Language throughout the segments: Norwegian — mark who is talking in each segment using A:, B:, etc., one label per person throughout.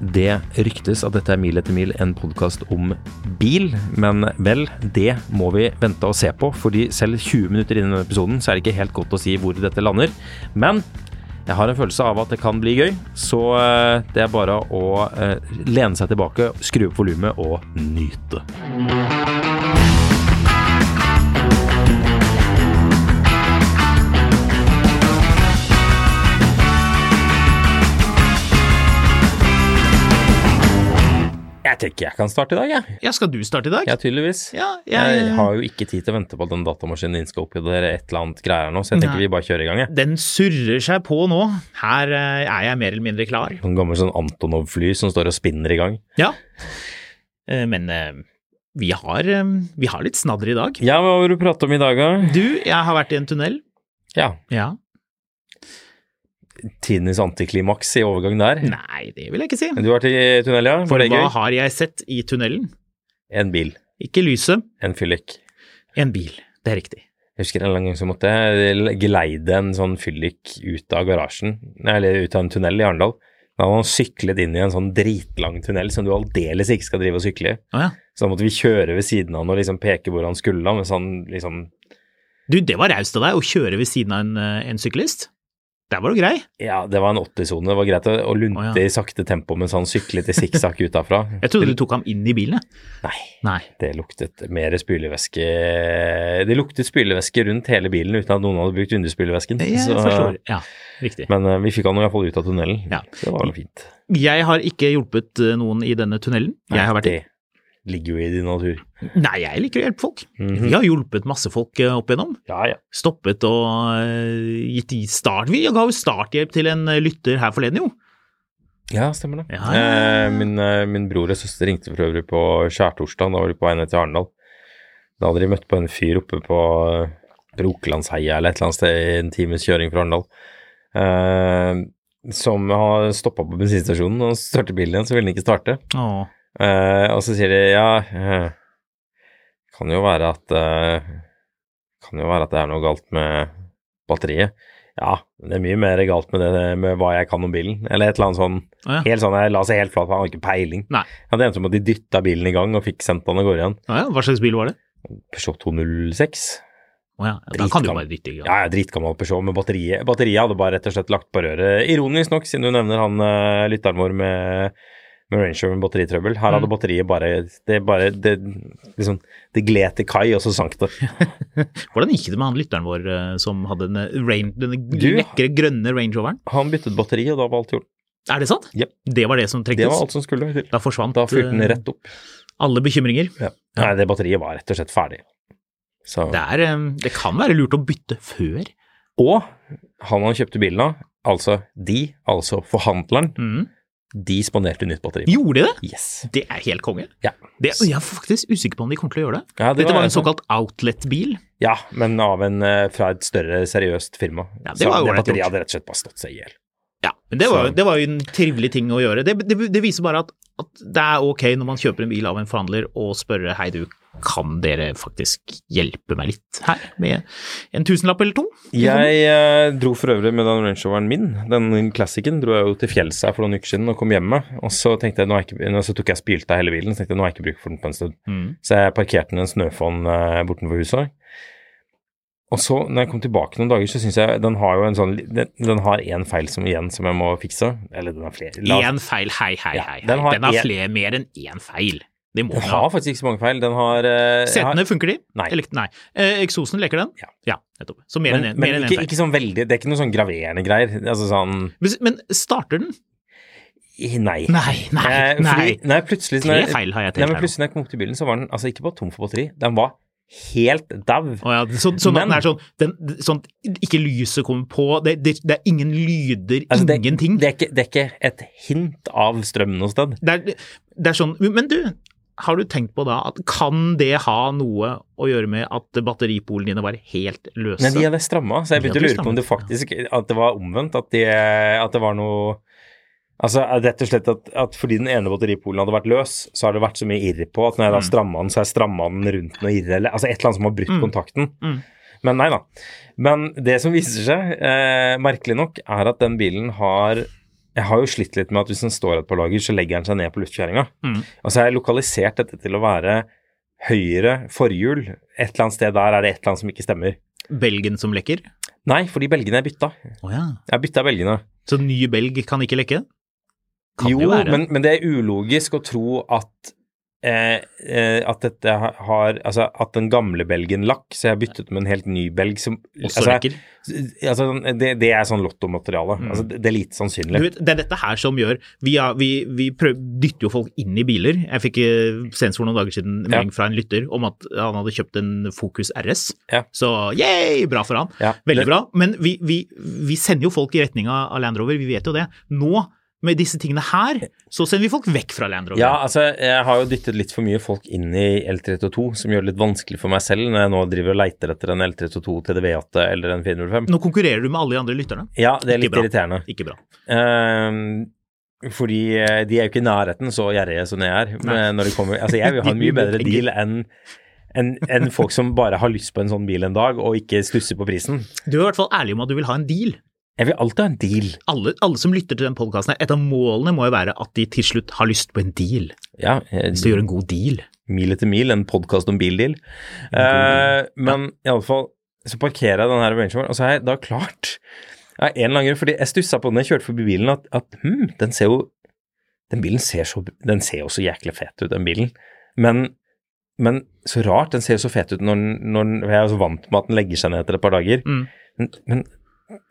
A: Det ryktes at dette er Mil etter mil, en podkast om bil. Men vel, det må vi vente og se på, fordi selv 20 minutter innen denne episoden så er det ikke helt godt å si hvor dette lander. Men jeg har en følelse av at det kan bli gøy, så eh, det er bare å eh, lene seg tilbake, skru opp volumet og nyte. Jeg tenker jeg kan starte i dag, jeg.
B: Ja, skal du starte i dag?
A: Ja, tydeligvis.
B: Ja, jeg-
A: Jeg har jo ikke tid til å vente på at den datamaskinen din skal oppgradere et eller annet greier her nå, så jeg tenker
B: Nei.
A: vi bare kjører i gang, jeg.
B: Den surrer seg på nå. Her eh, er jeg mer eller mindre klar.
A: Noen gammel sånn Antonov-fly som står og spinner i gang.
B: Ja. Eh, Men eh, vi har, eh, vi har litt snadder i dag.
A: Ja, hva vil du prate om i dag, da?
B: Du, jeg har vært i en tunnel.
A: Ja,
B: Ja.
A: tidenes antiklimaks i overgang der.
B: Nei, det vil jeg ikke si.
A: Du har vært i tunnel, ja? Var
B: For
A: det
B: hva
A: gøy?
B: har jeg sett i tunnelen?
A: En bil.
B: Ikke lyset,
A: En fyllik.
B: en bil. Det er riktig.
A: Jeg husker en eller annen gang så måtte jeg geleide en sånn fyllik ut av garasjen, nei, eller ut av en tunnel i Arendal. Da hadde han syklet inn i en sånn dritlang tunnel som du aldeles ikke skal drive og sykle i.
B: Å ja.
A: Så da måtte vi kjøre ved siden av han og liksom peke hvor han skulle, da, mens han liksom
B: Du, det var raust av deg å kjøre ved siden av en, eh, en syklist. Der var du grei.
A: Ja, det var en 80-sone. Det var greit å, å lunte
B: Å, ja.
A: i sakte tempo mens han syklet i sikksakk utafra.
B: Jeg trodde du tok ham inn i bilen. jeg.
A: Nei,
B: Nei.
A: det luktet mer spylevæske Det luktet spylevæske rundt hele bilen uten at noen hadde brukt vindusspylevæsken.
B: Jeg
A: så-
B: forstår. Ja, riktig.
A: Men eh, vi fikk han i hvert fall ut av tunnelen.
B: Ja.
A: Så det var jo fint.
B: Jeg har ikke hjulpet eh, noen i denne tunnelen. Jeg har vært
A: Det ligger jo i din natur.
B: Nei, jeg liker å hjelpe folk. Vi har hjulpet masse folk eh, opp igjennom.
A: Ja, ja.
B: Stoppet og eh, gitt i start. Vi ga jo starthjelp til en eh, lytter her forleden, jo.
A: Ja, stemmer det.
B: Ja, ja.
A: Eh, Min, eh, min bror og søster ringte for øvrig på skjærtorsdag, da var de på vei ned til Arendal. Da hadde de møtt på en fyr oppe på eh, Brokelandsheia eller et eller annet sted i en times kjøring fra Arendal. eh, Som har stoppa på bensinstasjonen og startet bilen igjen, så ville den ikke starte.
B: Åh.
A: Eh, og så sier de ja, eh, kan jo være at eh, kan jo være at det er noe galt med batteriet. Ja, men det er mye mer galt med, det, med hva jeg kan om bilen, eller et eller annet sånn.
B: Å, ja.
A: Helt sånn, jeg la seg helt flat, for han hadde ikke peiling.
B: Nei.
A: Ja, det endte med at de dytta bilen i gang og fikk sendt han av gårde igjen.
B: Å ja, hva slags bil var det?
A: Peugeot 206.
B: Å ja, da kan du
A: Dritgam-
B: jo bare dytte i gang.
A: Ja, ja, dritgammal Peugeot med batteriet. Batteriet hadde bare rett og slett lagt på røret. Ironisk nok, siden du nevner han eh, lytteren vår med, med Range Rover med batteritrøbbel. Her
B: Mm.
A: hadde batteriet bare Det bare det, liksom, det gled til kai, og så sank det.
B: Hvordan gikk det med han lytteren vår eh, som hadde denne, range, denne
A: Du-
B: lekre grønne Range Roveren?
A: Han byttet batteri, og da var alt gjort.
B: Er det sant?
A: Jep.
B: Det var det som
A: Det var
B: trengtes?
A: alt som skulle til.
B: Da forsvant
A: Da fyrte den
B: eh,
A: rett opp.
B: alle bekymringer.
A: Nei, det batteriet var rett og slett ferdig. Så.
B: Det, er, eh, det kan være lurt å bytte før.
A: Og han han kjøpte bilen av, altså de, altså forhandleren,
B: Mm.
A: de spanderte nytt batteri.
B: Gjorde de det?
A: Yes.
B: Det er helt konge.
A: Ja.
B: Det, jeg er faktisk usikker på om de kommer til å gjøre det.
A: Ja, det
B: Dette
A: var sånn-
B: var en
A: jeg som-
B: såkalt outlet-bil.
A: Ja, men av en, eh, fra et større, seriøst firma.
B: Ja, det
A: Så
B: var jo
A: det
B: ålreit
A: batteriet
B: gjort.
A: hadde rett og slett bare stått seg i hjel.
B: Ja, men det var,
A: Så-
B: jo- det var jo en trivelig ting å gjøre. Det, det, det viser bare at, at det er ok når man kjøper en bil av en forhandler og spørre hei du, kan dere faktisk hjelpe meg litt her med en tusenlapp eller to?
A: Jeg eh, dro for øvrig med den Range Roveren min, den klassikken, dro jeg jo til fjells her for noen uker siden og kom hjemme. Og så tenkte jeg, nå er jeg ikke, nå, så tok jeg spylt av hele bilen, så tenkte jeg nå har jeg ikke bruk for den på en stund.
B: Mm.
A: Så jeg parkerte den i en snøfonn eh, bortenfor huset. Og så, når jeg kom tilbake noen dager, så syns jeg den har jo en sånn Den, den har én feil som igjen som jeg må fikse. Eller den har flere. La-
B: Én feil, hei, hei,
A: Ja,
B: hei. hei.
A: den
B: Den
A: har
B: har,
A: en-
B: flere, mer enn én feil. Det må
A: den
B: den ha.
A: har faktisk ikke så mange feil. Den har eh, jeg har-
B: Setene, funker de?
A: Nei.
B: Eller, nei. Eh, eksosen, leker den?
A: Ja.
B: nettopp. Så mer
A: Men,
B: enn en- mer
A: men
B: enn én
A: ikke,
B: feil.
A: ikke sånn veldig Det er ikke noe sånn graverende greier. Altså sånn
B: Men, men starter den?
A: Nei.
B: Nei, nei,
A: Eh,
B: nei.
A: Fordi, nei plutselig,
B: Tre
A: når jeg-
B: feil har
A: Nei,
B: jeg telt
A: men
B: her nå.
A: plutselig når jeg kom til bilen, så var den altså ikke bare tom for batteri, den var helt dau.
B: Å ja, så, sånn
A: Men-
B: at den er sånn, den, sånn at Ikke lyset kommer på, det, det, det er ingen lyder,
A: Altså, det,
B: ingenting.
A: Det er, ikke, det er ikke et hint av strøm noe sted.
B: Det er, det er sånn Men du, har du tenkt på da at kan det ha noe å gjøre med at batteripolene dine var helt løse?
A: Men de hadde stramma, så jeg
B: De
A: begynte å
B: hadde
A: lure på om det faktisk at det var omvendt, at, de, at det var noe Altså rett og slett at, at fordi den ene batteripolen hadde vært løs, så har det vært så mye irr på at når jeg da
B: Mm.
A: stramma den, så har jeg stramma den rundt noe irr, eller altså et eller annet som har brutt kontakten.
B: Mm.
A: Men nei da. Men det som viser seg, eh, merkelig nok, er at den bilen har jeg har jo slitt litt med at hvis den står et par dager, så legger den seg ned på luftkjøringa.
B: Mm.
A: Og så har jeg lokalisert dette til å være høyre forhjul. Et eller annet sted der er det et eller annet som ikke stemmer.
B: Belgen som lekker?
A: Nei, fordi belgene er bytta.
B: Å ja.
A: Jeg bytta belgene.
B: Så ny belg kan ikke lekke? Kan
A: jo,
B: jo være.
A: Men, men det er ulogisk å tro at eh, eh, at dette ha- har Altså at den gamle belgen lakk, så jeg har byttet med en helt ny belg som altså,
B: Også lekker.
A: altså, det, det er sånn lottomateriale.
B: Mm.
A: Altså, det, det er lite
B: Du
A: sannsynlig.
B: vet, det er dette her som gjør Vi, har, vi, vi prøv, dytter jo folk inn i biler. Jeg fikk eh, senest for noen dager siden en
A: Ja.
B: melding fra en lytter om at han hadde kjøpt en Focus RS.
A: Ja.
B: Så yeah, bra for han.
A: Ja.
B: Veldig
A: Det-
B: bra. Men vi, vi, vi sender jo folk i retning av av Land Rover, vi vet jo det. Nå, med disse tingene her, så sender vi folk vekk fra Land Rover.
A: Ja, altså, jeg har jo dyttet litt for mye folk inn i L32, som gjør det litt vanskelig for meg selv når jeg nå driver og leiter etter en L32 til V8 eller en 405.
B: Nå konkurrerer du med alle de andre lytterne.
A: Ja, det er
B: Mm. Ikke
A: litt
B: bra.
A: irriterende.
B: Ikke bra.
A: Ehm, fordi eh, de er jo ikke i nærheten så gjerrige som jeg er.
B: Nei.
A: Men når det kommer, altså jeg vil ha en
B: De
A: mye
B: blir
A: bedre
B: penger.
A: deal enn enn- enn folk som bare har lyst på en sånn bil en dag, og ikke stusser på prisen.
B: Du er i hvert fall ærlig om at du vil ha en deal.
A: Jeg vil alltid ha en deal.
B: Alle, alle som lytter til den podkasten, et av målene må jo være at de til slutt har lyst på en deal.
A: Ja, eh,
B: Hvis du gjør en god deal.
A: Mil etter mil, en podkast om bildeal. Eh, men i alle fall så parkerer jeg den her Range Roveren, og så har jeg da klart ja, en eller annen grunn, fordi jeg stussa på den da jeg kjørte forbi bilen, at, at hm, den ser jo Den bilen ser så Den ser jo så jæklig fet ut, den bilen. Men, men så rart, den ser jo så fet ut når den når den- for Jeg er jo så vant med at den legger seg ned etter et par dager. Men, men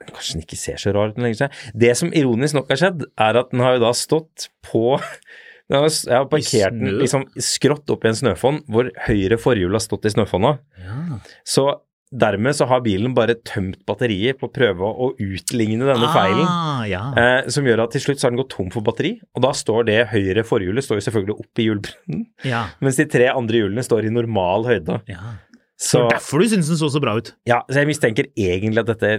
A: kanskje den ikke ser så rar ut når den legger seg. Det som ironisk nok har skjedd, er at den har jo da stått på den har, Jeg har parkert den
B: snø.
A: liksom skrått opp i en snøfonn, hvor høyre forhjul har stått i snøfonna. Så dermed så har bilen bare tømt batteriet på å prøve å utligne denne feilen.
B: Ah, ja.
A: Eh, som gjør at til slutt så har den gått tom for batteri, og da står det høyre forhjulet står jo selvfølgelig oppi hjulbrunnen,
B: ja.
A: mens de tre andre hjulene står i normal høyde.
B: ja. Det
A: Så,
B: var derfor du syntes den så så bra ut.
A: ja, så jeg mistenker egentlig at dette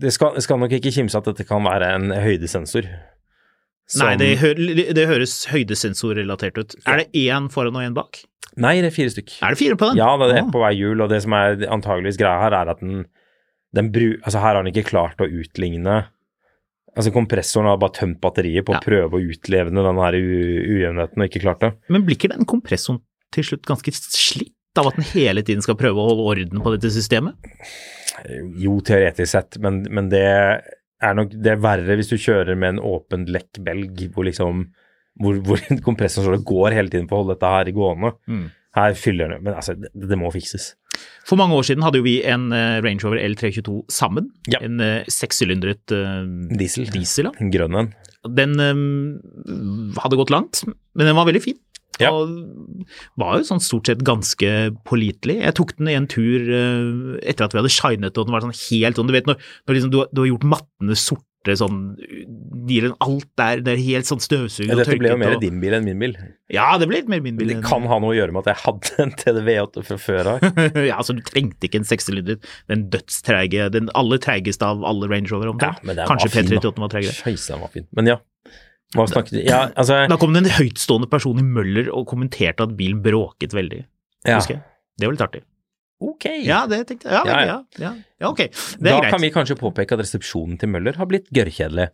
A: Det skal, skal nok ikke kimse at dette kan være en høydesensor. Som-
B: Nei, det, hø det høres høydesensorrelatert ut. Er det én foran og én bak?
A: Nei, det er fire stykk.
B: Er det fire på den?
A: Ja, det er
B: Ah.
A: på hver hjul, og det som er antageligvis greia her, er at den, den bru... Altså, her har den ikke klart å utligne Altså, kompressoren har bare tømt batteriet på å
B: Ja.
A: prøve å utlevne den her u- ujevnheten, og ikke klart det.
B: Men blir ikke den kompressoren til slutt ganske slitt av at den hele tiden skal prøve å holde orden på dette systemet?
A: Jo, teoretisk sett, men, men det er nok det er verre hvis du kjører med en åpen lekk belg, hvor liksom hvor, hvor kompressoren står og går hele tiden på å holde dette her gående. Her fyller den Men altså, det, det må fikses.
B: For mange år siden hadde jo vi en eh, Range Rover L322 sammen.
A: Ja.
B: En eh, sekssylindret eh,
A: Diesel.
B: diesel. Ja.
A: En grønn en.
B: Den eh, hadde gått langt, men den var veldig fin.
A: Ja.
B: Og var jo sånn stort sett ganske pålitelig. Jeg tok den en tur eh, etter at vi hadde shinet og den var sånn helt sånn Du vet når, når liksom du, har- du har gjort mattene sorte sånn de gir en Alt der, det er helt sånn støvsugd og
A: Dette
B: tørket.
A: ble jo mer
B: og,
A: din bil enn min bil.
B: Ja, det ble litt mer min bil.
A: Det kan ha noe å gjøre med at jeg hadde en TDV8 fra før av.
B: eh, ja, altså Du trengte ikke en sekssylindret. Den dødstreige, den aller treigeste av alle Range Rover omtrent.
A: men den
B: Kanskje
A: var fin, da.
B: P38 var treigere.
A: Scheisse, den var fin. Men ja. Hva snakket vi Ja, altså
B: Da kom det en høytstående person i møller og kommenterte at bilen bråket veldig.
A: ja.
B: husker jeg. Det var litt artig.
A: Ok.
B: Ja, det tenkte jeg. Ja,
A: Ja,
B: ja,
A: ja.
B: ja. ja, ja ok. Det
A: Da
B: er
A: kan
B: greit.
A: vi kanskje påpeke at resepsjonen til Møller har blitt gørrkjedelig.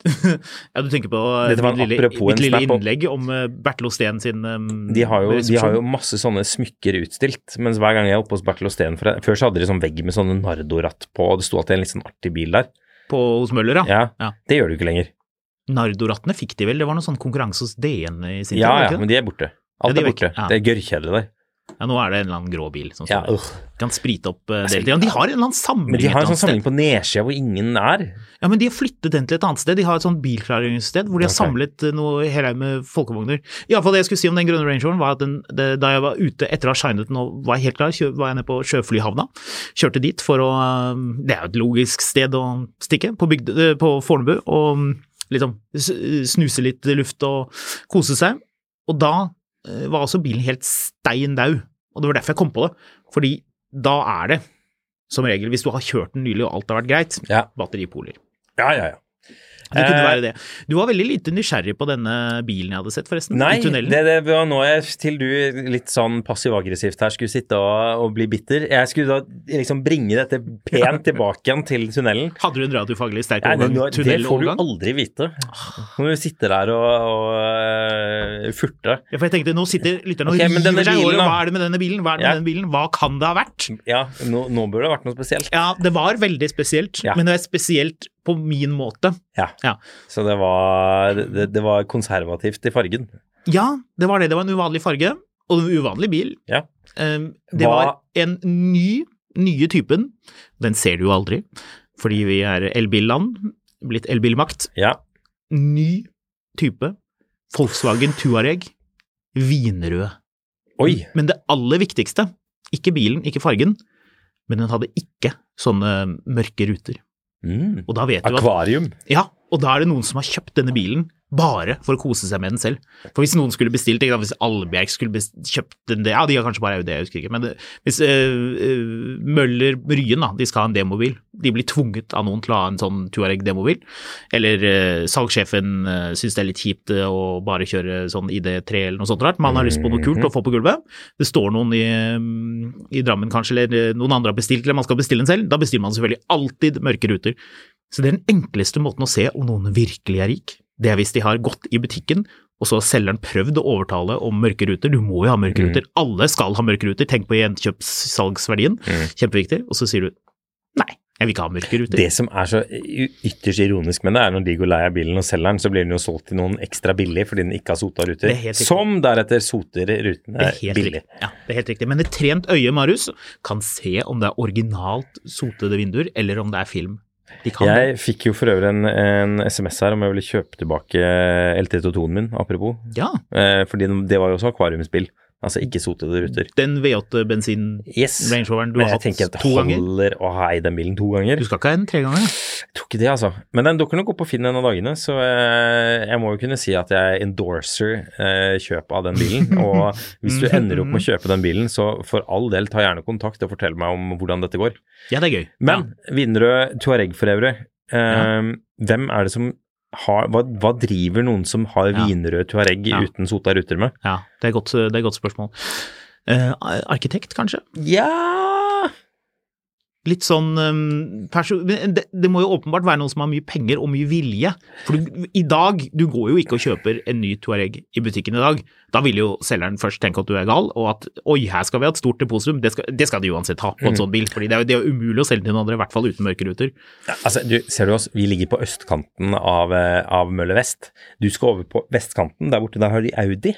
B: ja, du tenker på eh,
A: Dette var
B: mitt lille,
A: apropos en
B: mitt lille
A: snap om-
B: innlegg om eh, Bertil Osten sin eh,
A: De har, jo, de har jo
B: resepsjon.
A: masse sånne smykker utstilt, mens hver gang jeg er oppe hos Bertil Osten for jeg- Før så hadde de sånn vegg med sånne Nardo-ratt på, og det sto alltid en litt sånn artig bil der.
B: på, hos Møller, ja.
A: Ja,
B: Ja.
A: Det gjør du ikke lenger.
B: Nardorattene fikk de vel, det var noen sånn konkurranse hos DN i sin
A: Ja,
B: var det
A: ja,
B: ikke
A: men
B: det?
A: de er borte. Alt
B: Ja, de
A: er
B: er
A: borte.
B: vekk. Ja.
A: Det er gørrkjedelig der.
B: ja, nå er det en eller annen grå bil som
A: Ja,
B: står der.
A: øh.
B: Kan sprite opp eh, deltid. Ja, De har en eller annen samling.
A: Men de har en
B: et eller
A: sånn samling
B: annet
A: på nedsida hvor ingen er.
B: sted. Ja, men de har flyttet den til et annet sted. De har et sånt bilklareringssted hvor de har
A: Ok.
B: samlet eh, noe i hele haug med folkevogner. Iallfall det jeg skulle si om den grønne Range Roveren, var at den, det, da jeg var ute etter å ha shinet den og var helt klar, kjø, var jeg nede på sjøflyhavna. Kjørte dit for å eh, Det er jo et logisk sted å stikke, på, bygd, eh, på Fornebu, og mm, liksom s- snuse litt luft og kose seg. Og da eh, var altså bilen helt stein daud, og det var derfor jeg kom på det. Fordi da er det som regel, hvis du har kjørt den nylig og alt har vært greit,
A: Ja,
B: batteripoler.
A: ja, ja. ja.
B: Det kunne
A: Eh,
B: være det. Du var veldig lite nysgjerrig på denne bilen jeg hadde sett, forresten.
A: Nei,
B: i
A: det,
B: tunnelen.
A: det var nå jeg til du litt sånn passiv-aggressivt her skulle sitte og, og bli bitter. Jeg skulle da liksom bringe dette pent tilbake igjen til tunnelen.
B: Hadde du en radiofaglig sterk
A: Nei, det,
B: overgang?
A: nå, det får du
B: tunnelovergang?
A: aldri vite.
B: Ah.
A: Nå må vi sitte der og, og øh, furte.
B: Ja, for jeg tenkte, nå sitter lytterne og
A: Ok, men denne
B: river seg i
A: bilen,
B: håret.
A: da?
B: Hva er det med denne bilen? Hva er det med
A: Ja.
B: denne bilen? Hva kan det ha vært?
A: Ja, nå, nå burde det ha vært noe spesielt.
B: Ja, det var veldig spesielt,
A: Ja.
B: men det er spesielt på min måte.
A: Ja.
B: Ja.
A: Så det var, det, det var konservativt i fargen.
B: ja, det var det. Det var en uvanlig farge, og en uvanlig bil.
A: Ja.
B: Um, Det
A: Hva-
B: var en ny, nye typen. Den ser du jo aldri, fordi vi er elbilland, blitt elbilmakt.
A: Ja.
B: Ny type. Volkswagen Tuareg. Vinrød.
A: Oi!
B: Men det aller viktigste, ikke bilen, ikke fargen, men den hadde ikke sånne mørke ruter.
A: Mm.
B: Og da vet du at
A: Akvarium.
B: Ja, og da er det noen som har kjøpt denne bilen bare for å kose seg med den selv. For hvis noen skulle bestilt, ikke sant, hvis Alberg skulle best- kjøpt den, ja, de har kanskje bare Audi, jeg husker ikke, men det, hvis øh, øh, Møller Ryen, da, de skal ha en demobil, de blir tvunget av noen til å ha en sånn Tuareg-demobil, eller øh, salgssjefen øh, synes det er litt kjipt øh, å bare kjøre sånn ID3 eller noe sånt rart, man har lyst på noe kult å få på gulvet, det står noen i, øh, i Drammen kanskje, eller øh, noen andre har bestilt, eller man skal bestille den selv, da bestiller man selvfølgelig alltid mørke ruter. Så det er den enkleste måten å se om noen virkelig er rik. Det er hvis de har gått i butikken, og så har selgeren prøvd å overtale om mørke ruter. Du må jo ha mørke ruter. Alle skal ha mørke ruter. Tenk på gjenkjøpssalgsverdien. Kjempeviktig. Og så sier du nei, jeg vil ikke ha mørke ruter.
A: Det som er så y- ytterst ironisk med det, er når de går lei av bilen og selger den, så blir den jo solgt til noen ekstra billig fordi den ikke har sota ruter.
B: Det er helt riktig.
A: Som deretter soter
B: Det
A: rutene
B: er helt
A: billig.
B: riktig. Ja, det er helt riktig. Men et trent øye, Marius, kan se om det er originalt sotede vinduer, eller om det er film. De kan det.
A: Jeg fikk jo for øvrig en, en SMS her om jeg ville kjøpe tilbake LT22-en min, apropos.
B: Ja.
A: Eh, fordi den- det var jo også akvariumsbil. Altså ikke sotede ruter.
B: Den V8-bensin
A: Yes.
B: Range Roveren du
A: Men
B: har
A: jeg
B: hatt
A: tenker at det
B: to ganger.
A: holder å ha eid den bilen to ganger.
B: Du skal ikke ha en tre ganger? ja.
A: Jeg tror ikke det, altså. Men den dukker nok opp på Finn en av dagene, så eh, jeg må jo kunne si at jeg endorser eh, kjøp av den bilen. Og hvis du ender opp med å kjøpe den bilen, så for all del, ta gjerne kontakt og fortell meg om hvordan dette går.
B: Ja, det er gøy. ja.
A: Men Widerøe Tuareg for øvrig, eh,
B: Ja.
A: hvem er det som har hva, hva driver noen som har
B: Ja.
A: wienerød Tuareg
B: Ja.
A: uten sota ruter med?
B: Ja, det er godt, det er et godt spørsmål. Eh, arkitekt, kanskje?
A: Ja
B: Litt sånn eh, perso- men det, det må jo åpenbart være noen som har mye penger og mye vilje. For du, i dag, du går jo ikke og kjøper en ny Touareg i butikken i dag. Da vil jo selgeren først tenke at du er gal, og at oi, her skal vi ha et stort depositum. Det skal, det skal de uansett ha på
A: Mm.
B: en sånn bil, fordi det er, jo- det er jo umulig å selge til noen andre, i hvert fall uten mørkeruter.
A: Altså, du, ser du oss, vi ligger på østkanten av, eh, av Møller Vest. Du skal over på vestkanten, der borte der har de Audi.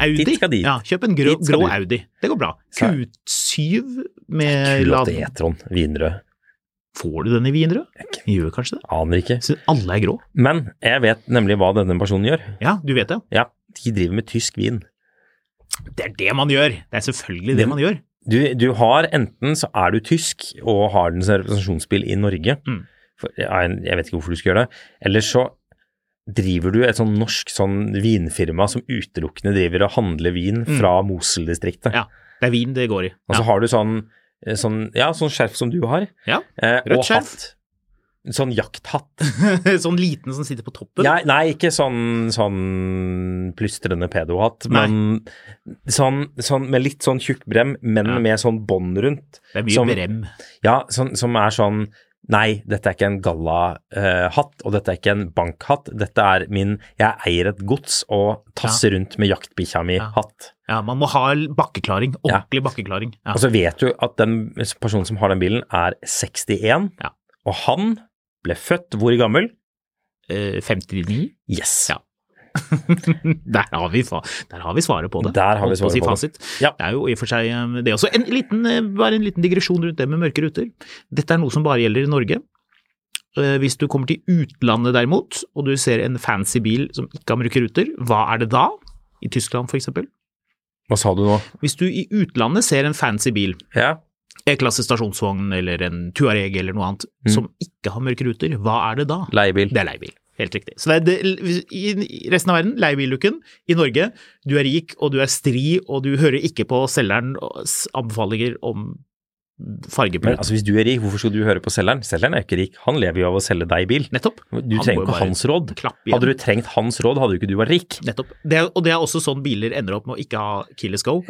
B: Audi?
A: Dit skal de.
B: Ja, kjøp en grå,
A: Dit skal
B: grå
A: du.
B: Audi. Det går bra.
A: Så-
B: Q7
A: Q8
B: med lad...
A: E-tron, wienerød.
B: Får du den i Wienerød? Gjør kanskje det?
A: Aner ikke.
B: Så alle er grå?
A: Men jeg vet nemlig hva denne personen gjør.
B: Ja, du vet det.
A: Ja, de driver med tysk vin.
B: Det er det man gjør. Det er selvfølgelig det
A: Det-
B: man gjør.
A: Du, du har enten så er du tysk og har den som representasjonsbil i Norge,
B: Mm.
A: for, jeg, jeg vet ikke hvorfor du skal gjøre det, eller så driver du et sånn norsk sånn vinfirma som utelukkende driver og handler vin fra Moseldistriktet.
B: Mm. Ja, det er vin det går i.
A: Og så
B: Ja.
A: har du sånn, eh, sånn, ja, sånn skjerf som du har.
B: Ja.
A: Eh,
B: Rødt
A: og
B: skjerf.
A: hatt. Sånn jakthatt.
B: sånn liten som sitter på toppen.
A: Nei, nei, ikke sånn, sånn plystrende pedohatt, men sånn, sånn med litt sånn tjukk brem, men
B: Ja.
A: med sånn bånd rundt.
B: det er mye
A: som-
B: brem.
A: Ja, sånn, som er sånn Nei, dette er ikke en gallahatt, og dette er ikke en bankhatt. Dette er min Jeg eier et gods og tasser rundt med jaktbikkja mi-hatt.
B: Ja, Man må ha bakkeklaring.
A: Ja. Altså-
B: Ordentlig bakkeklaring. Ja.
A: Og så vet du at den personen som har den bilen, er 61,
B: Ja.
A: og han ble født hvor gammel?
B: Eh, 59?
A: Yes.
B: Ja. der, har vi, fa- der har vi svaret på det.
A: Der har vi
B: Holdt på å
A: svaret på det.
B: si fasit.
A: Ja.
B: Det er jo i og for seg eh, det også. En liten, eh, bare en liten digresjon rundt det med mørke ruter. Dette er noe som bare gjelder i Norge. Eh, Hvis du kommer til utlandet derimot, og du ser en fancy bil som ikke har mørke ruter, hva er det da? I Tyskland for eksempel.
A: Hva sa du nå?
B: Hvis du i utlandet ser en fancy bil,
A: Ja.
B: E-klasse stasjonsvogn eller en Tuareg eller noe annet,
A: Mm.
B: som ikke har mørke ruter, hva er det da?
A: Leiebil.
B: Det er leiebil. Helt riktig. Så det er det, i resten av verden, leiebillooken. I Norge, du er rik og du er stri og du hører ikke på selgerens anbefalinger om
A: Men
B: fargebrett.
A: altså, hvis du er rik, hvorfor skal du høre på selgeren? Selgeren er jo ikke rik, han lever jo av å selge deg bil.
B: Nettopp.
A: Du trenger
B: Han må jo
A: ikke
B: bare
A: hans råd.
B: klappe igjen.
A: Hadde du trengt hans råd, hadde jo ikke du vært rik.
B: Nettopp. Det er, og det er også sånn biler ender opp med å ikke ha keyless go.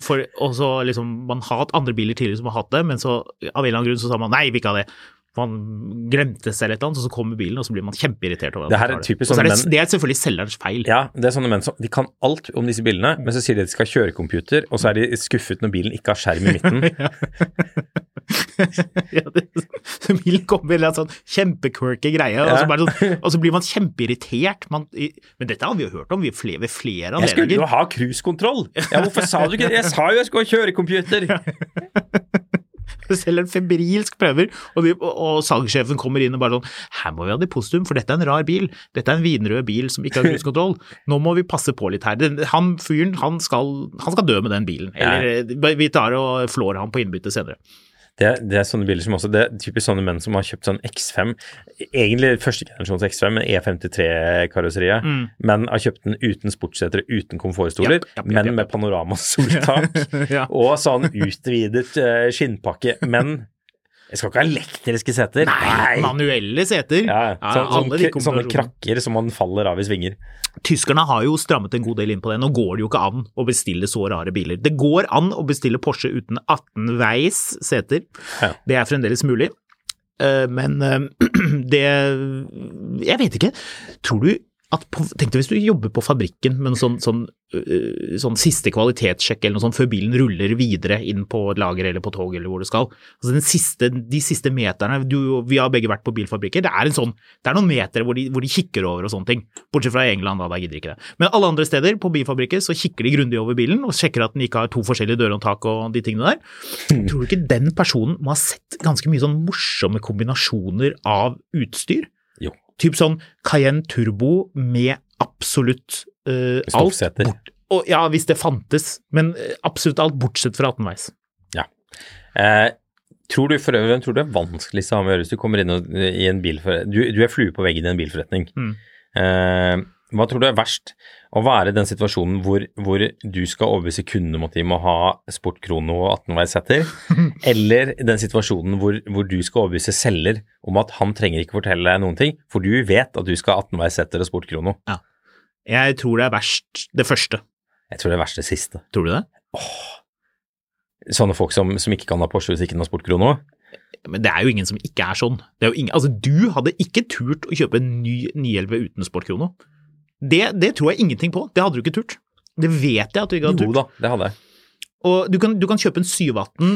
B: For også liksom, Man har hatt andre biler tidligere som har hatt det, men så av en eller annen grunn så sa man nei, vi vil ikke ha det. Man glemte seg eller et eller annet, og så kommer bilen, og så blir man kjempeirritert. over at
A: Det her
B: man
A: er
B: har
A: typisk
B: Og så er
A: sånn
B: det, det er selvfølgelig selgerens feil.
A: Ja, det er sånne menn som De kan alt om disse bilene, men så sier de at de skal kjøre computer, og så er de skuffet når bilen ikke har skjerm i midten.
B: ja, det, så Bill kommer med en eller annen sånn kjempequirky greie, og, så bare sånn, og så blir man kjempeirritert. Man, i, men dette har vi jo hørt om vi flere, ved flere
A: Jeg skulle jo
B: anledninger.
A: ha cruisekontroll! Ja, hvorfor sa du ikke det? Jeg sa jo jeg skulle kjøre computer!
B: Selv en febrilsk prøver, og, de, og, og salgssjefen kommer inn og bare sånn Her må vi ha depositum, for dette er en rar bil. Dette er en vinrød bil som ikke har cruisekontroll. Nå må vi passe på litt her. Den, han fyren, han skal, han skal dø med den bilen. Eller eh, vi tar og flår ham på innbyttet senere.
A: Det, det er sånne biler som også Det er typisk sånne menn som har kjøpt sånn X5, egentlig første generasjons X5, men E53-karosseriet, men har kjøpt den uten sportssetere, uten komfortstoler,
B: Mm. Japp, japp, japp,
A: men
B: japp,
A: med panoramasoltak
B: Ja.
A: og sånn utvidet eh, skinnpakke. Men jeg skal ikke ha elektriske seter.
B: Nei, manuelle seter.
A: Ja, ja.
B: Ja,
A: Sånn, sånn,
B: alle de
A: kr- sånne
B: kombinasjonene.
A: krakker som man faller av i svinger.
B: Tyskerne har jo strammet en god del inn på det. Nå går det jo ikke an å bestille så rare biler. Det går an å bestille Porsche uten 18-veis seter.
A: Ja.
B: Det er fremdeles mulig. Eh, Men eh, det Jeg vet ikke. Tror du at på, Tenk deg hvis du jobber på fabrikken med en sånn, sånn, eh, sånn siste kvalitetssjekk eller noe sånt før bilen ruller videre inn på et lager eller på tog eller hvor det skal. Altså den siste, de siste meterne du, Vi har begge vært på bilfabrikker. Det er, en sånn, det er noen meter hvor de, hvor de kikker over og sånne ting. Bortsett fra i England, da. Der gidder de ikke det. Men alle andre steder på bilfabrikker så kikker de grundig over bilen og sjekker at den ikke har to forskjellige dørhåndtak og de tingene der. Tror du ikke den personen må ha sett ganske mye sånn morsomme kombinasjoner av utstyr?
A: Jo.
B: Typ sånn Cayenne Turbo med absolutt eh, alt.
A: Stoppseter.
B: Bort, og, ja, hvis det fantes, men eh, absolutt alt bortsett fra 18-veis.
A: Eh, tror du for øvrig, Hvem tror du er vanskeligst å ha med å gjøre hvis du kommer inn og, i en bilforretning? Du, du er flue på veggen i en bilforretning. Eh, hva tror du er verst? Å være i den situasjonen hvor, hvor du skal overbevise kundene om at de må ha sportkrono og 18-veissetter, eller den situasjonen hvor, hvor du skal overbevise selger om at han trenger ikke fortelle deg noen ting, for du vet at du skal ha 18-veissetter og sportkrono.
B: Jeg tror det er verst det første.
A: Jeg tror det er verst det siste.
B: Tror du det?
A: Sånne folk som, som ikke kan ha Porsche hvis ikke den har sportkrono.
B: Men det er jo ingen som ikke er sånn. Det er jo ingen, altså Du hadde ikke turt å kjøpe en ny 911 uten sportkrono. Det, det tror jeg ingenting på. Det hadde du ikke turt. Det vet jeg at du ikke hadde
A: Jo
B: turt.
A: da, det hadde jeg.
B: Og du kan, du kan kjøpe en 718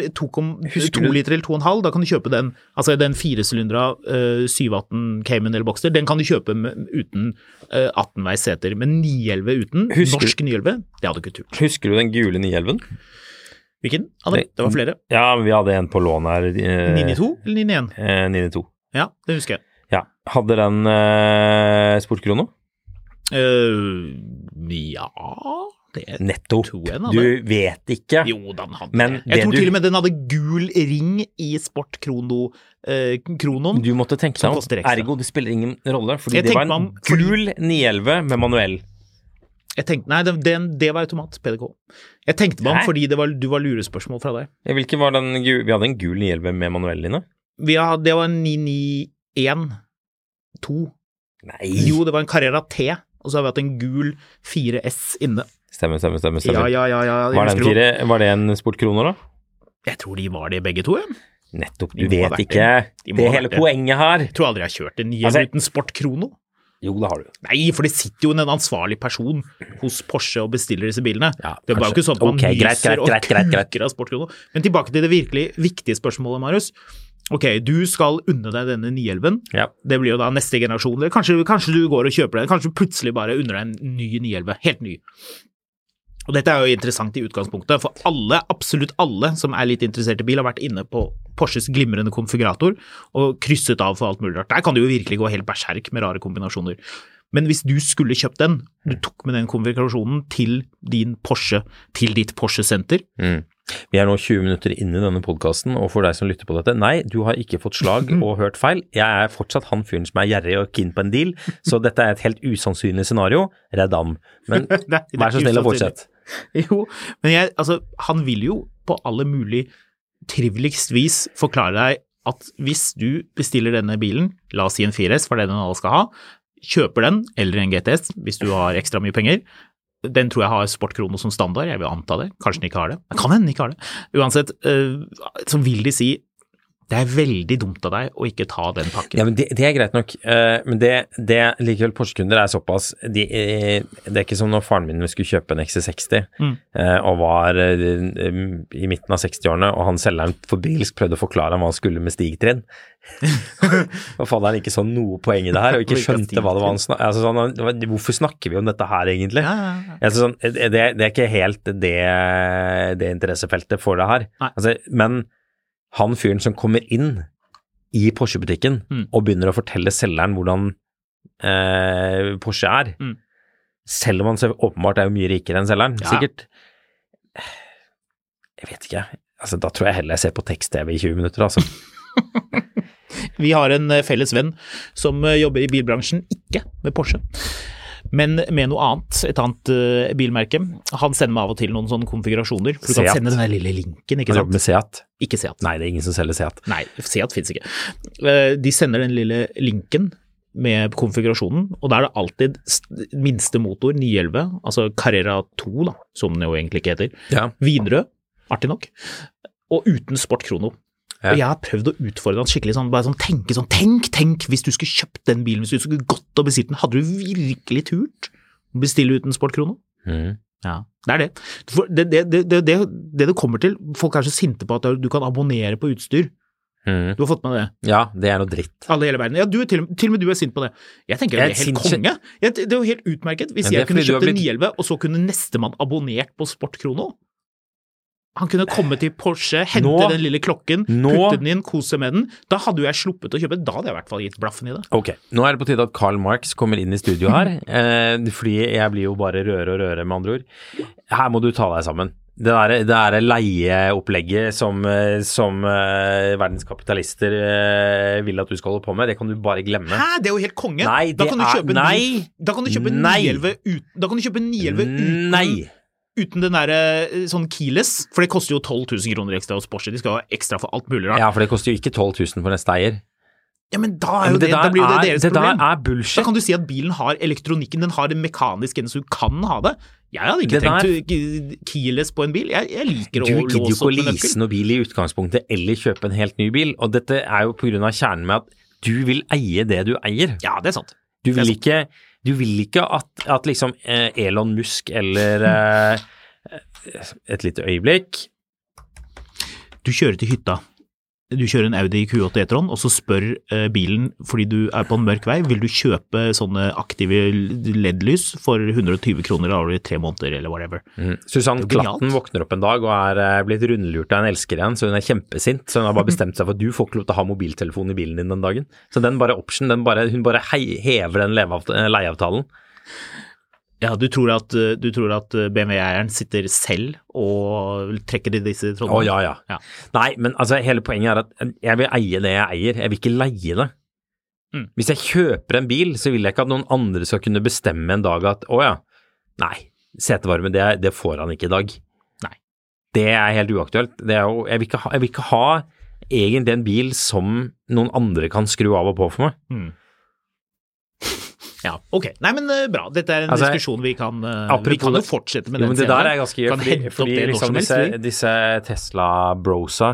B: med 2,2
A: Husker du-
B: liter eller 2,5. Da kan du kjøpe den altså den firesylindra uh, 718 Cayman eller Boxter. Den kan du kjøpe med, uten eh, 18-veis seter. Men 911 uten,
A: Husker du-
B: norsk 911, det hadde du ikke turt.
A: Husker du den gule 911?
B: Hvilken? av dem?
A: Det-
B: Det var flere.
A: Ja, vi hadde en på lån her. Eh,
B: 992 eller 991?
A: Eh, 992.
B: Ja, det husker jeg.
A: Ja. Hadde den eh, sportkrono?
B: Eh, ja det
A: Nettopp.
B: Tror jeg den hadde.
A: Du vet ikke.
B: Jo, den hadde
A: Men
B: det. Jeg
A: det
B: tror
A: du-
B: til og med den hadde gul ring i Sport Krono, eh, Kronoen.
A: Du måtte tenke deg
B: Som koster
A: om.
B: ekstra.
A: Ergo, det spiller ingen rolle, fordi
B: Jeg
A: det var en
B: tenkte meg om-
A: gul 911 med manuell.
B: Jeg tenkte, nei, den, den, det var automat, PDK. Jeg tenkte meg
A: Hæ?
B: om fordi det var, du var lurespørsmål fra deg.
A: Ja, Hvilken var den gul? Vi hadde en gul 911 med manuell inne.
B: Vi har, det var en 991 2.
A: Nei!
B: Jo, det var en Carrera T, og så har vi hatt en gul 4S inne.
A: Stemmer, stemmer, stemmer.
B: Ja,
A: stemmer.
B: ja, ja. ja jeg
A: var,
B: husker
A: den
B: det godt.
A: fire, var det en sportkroner, da?
B: Jeg tror de var det begge to, ja.
A: Nettopp. Du
B: De må ha
A: vet
B: vært
A: ikke.
B: De må
A: Det
B: ha
A: er hele
B: vært det.
A: poenget her.
B: Jeg tror aldri jeg har kjørt
A: Altså-
B: en Nyhjelm uten sportkrono.
A: Jo, det har du.
B: Nei, for det sitter jo en ansvarlig person hos Porsche og bestiller disse bilene.
A: Ja,
B: det er
A: kanskje.
B: bare ikke sånn at man
A: Ok, greit,
B: nyser
A: greit, greit, greit,
B: og
A: greit.
B: kukker av sportkrono. Men tilbake til det virkelig viktige spørsmålet, Marius. Ok, du skal unne deg denne 911.
A: Ja.
B: Det blir jo da neste generasjon. Eller Kanskje, kanskje du går og kjøper den. Kanskje du plutselig bare unner deg en ny 911. Helt ny. Og dette er jo interessant i utgangspunktet, for alle, absolutt alle som er litt interessert i bil, har vært inne på Porsches glimrende konfigurator og krysset av for alt mulig rart. Der kan du jo virkelig gå helt berserk med rare kombinasjoner. Men hvis du skulle kjøpt den, du tok med den konfigurasjonen til din Porsche, til ditt Porsche-senter,
A: Vi er nå 20 minutter inn i denne podkasten, og for deg som lytter på dette, nei, du har ikke fått slag og hørt feil. Jeg er fortsatt han fyren som er gjerrig og keen på en deal, så dette er et helt usannsynlig scenario. Redd ham. Men
B: Nei, det er
A: vær så snill og fortsett.
B: usannsynlig. Jo, men jeg, altså, han vil jo på alle mulig triveligst vis forklare deg at hvis du bestiller denne bilen, la oss si en 4S, for det er den alle skal ha, kjøper den, eller en GTS hvis du har ekstra mye penger, den tror jeg har sportkrono som standard, jeg vil anta det, kanskje den ikke har det, det kan hende den ikke har det. Uansett, øh, så vil de si det er veldig dumt av deg å ikke ta den pakken.
A: Ja, men det, det er greit nok, eh, men det, det likevel Porsche-kunder er såpass de, eh, Det er ikke som når faren min skulle kjøpe en XC60
B: Mm.
A: eh, og var eh, i midten av 60-årene, og han selgeren for bilsk prøvde å forklare ham hva han skulle med stigtrinn. og faderen ikke så noe poeng i det her, og ikke skjønte hva det var han snak- altså, sånn, han- det var- Hvorfor snakker vi om dette her, egentlig?
B: Ja, ja, ja.
A: Altså, sånn, det, det er ikke helt det, det interessefeltet for det her.
B: Nei.
A: Altså, men han fyren som kommer inn i Porsche-butikken
B: Mm.
A: og begynner å fortelle selgeren hvordan eh, Porsche er,
B: Mm.
A: selv om han selv, åpenbart er jo mye rikere enn selgeren,
B: Ja.
A: sikkert Jeg vet ikke. Altså, da tror jeg heller jeg ser på tekst-TV i 20 minutter, altså.
B: Vi har en eh, felles venn som eh, jobber i bilbransjen, ikke med Porsche. Men med noe annet, et annet eh, bilmerke. Han sender meg av og til noen sånne konfigurasjoner. For du kan
A: Seat.
B: sende den der lille linken, ikke
A: Han jobber
B: sant?
A: med Seat.
B: Ikke Seat.
A: Nei, det er ingen som selger Seat.
B: Nei, Seat fins ikke. Eh, De sender den lille linken med konfigurasjonen, og da er det alltid s- minste motor, 911, altså Carrera 2, da, som den jo egentlig ikke heter.
A: Ja.
B: Vinrød, artig nok, og uten sportkrono.
A: Ja.
B: Og jeg har prøvd å utfordre han skikkelig sånn, bare sånn tenke sånn, tenk, tenk, hvis du skulle kjøpt den bilen, hvis du skulle gått og bestilt den, hadde du virkelig turt å bestille uten sportkrono?
A: Mm.
B: Ja, det er det. For det, det, det, det, det, det det kommer til, folk er så sinte på at du kan abonnere på utstyr.
A: Mm.
B: Du har fått med det?
A: ja, det er noe dritt.
B: Alle i hele verden. Ja, du, er til, til og med du er sint på det. Jeg tenker
A: Jeg
B: det er helt
A: er sint-
B: konge. Jeg, det er jo helt utmerket. Hvis
A: Men det er
B: jeg kunne
A: fordi du har
B: kjøpt en
A: blitt-
B: 911, og så kunne nestemann abonnert på Sportkrono Han kunne komme til Porsche, hente
A: Nå-
B: den lille klokken,
A: Nå-
B: putte den inn, kose seg med den. Da hadde jo jeg sluppet å kjøpe. Da hadde jeg i hvert fall gitt blaffen i det.
A: Ok, nå er det på tide at Karl Marx kommer inn i studio her, eh, fordi jeg blir jo bare røre og røre, med andre ord. Her må du ta deg sammen. Det der, det der leieopplegget som, eh, som eh, verdens kapitalister eh, vil at du skal holde på med, det kan du bare glemme.
B: Hæ, det er jo helt konge!
A: Nei,
B: da
A: det
B: kan du
A: er-
B: kjøpe en
A: nei.
B: ny- Da kan du kjøpe en
A: Nei.
B: 911 uten, da kan du kjøpe en 911 uten,
A: Nei!
B: uten den derre sånn keyless, for det koster jo 12 000 kroner ekstra hos Porsche. De skal ha ekstra for alt mulig rart.
A: Ja, for det koster jo ikke 12 000 for neste eier.
B: Ja, men da
A: Ja, men
B: er jo det,
A: det der
B: da blir jo det
A: er-
B: deres
A: det der
B: problem.
A: er bullshit.
B: Da kan du si at bilen har elektronikken, den har det mekaniske, så du kan ha det. Jeg hadde ikke
A: Det der-
B: tenkt å- keyless på en bil. Jeg, jeg liker
A: Du
B: å
A: gidder jo
B: låse
A: ikke å
B: opp med
A: lease
B: nøkkel.
A: noen bil i utgangspunktet, eller kjøpe en helt ny bil, og dette er jo på grunn av kjernen med at du vil eie det du eier.
B: Ja, det er sant.
A: Du
B: Det
A: vil
B: er
A: ikke, du vil ikke at, at liksom eh, Elon Musk eller eh, Et lite øyeblikk.
B: Du kjører til hytta. Du kjører en Audi Q8 E-tron, og så spør eh, bilen, fordi du er på en mørk vei, vil du kjøpe sånne aktive LED-lys for 120 kroner da har du i tre måneder, eller whatever.
A: Susann
B: Mm. Det er genialt.
A: Klatten våkner opp en dag og er eh, blitt rundlurt av en elsker igjen, så hun er kjempesint. Så hun har bare bestemt seg for at du får ikke lov til å ha mobiltelefon i bilen din den dagen. Så den bare option, den bare, hun bare hei, hever den leveavt- eh, leieavtalen.
B: Ja, du tror at, eh, du tror at BMW-eieren sitter selv og trekker i disse
A: Å
B: trådene?
A: ja, ja,
B: Ja.
A: Nei, men altså hele poenget er at jeg vil eie det jeg eier, jeg vil ikke leie det.
B: Mm.
A: Hvis jeg kjøper en bil, så vil jeg ikke at noen andre skal kunne bestemme en dag at å ja, nei, setevarme, det, det får han ikke i dag.
B: Nei.
A: Det er helt uaktuelt. Det er jo, jeg, vil ikke ha, jeg vil ikke ha egentlig en bil som noen andre kan skru av og på for meg.
B: Ja, ok. Nei, men eh, bra. Dette er en
A: Altså,
B: diskusjon vi kan eh, Vi
A: apropos
B: kan jo
A: det-
B: fortsette med
A: Jo,
B: den
A: men det der er ganske gøy,
B: Kan
A: fordi,
B: hente opp
A: fordi
B: det når
A: liksom
B: som helst.
A: disse,
B: vi.
A: disse Tesla-brosa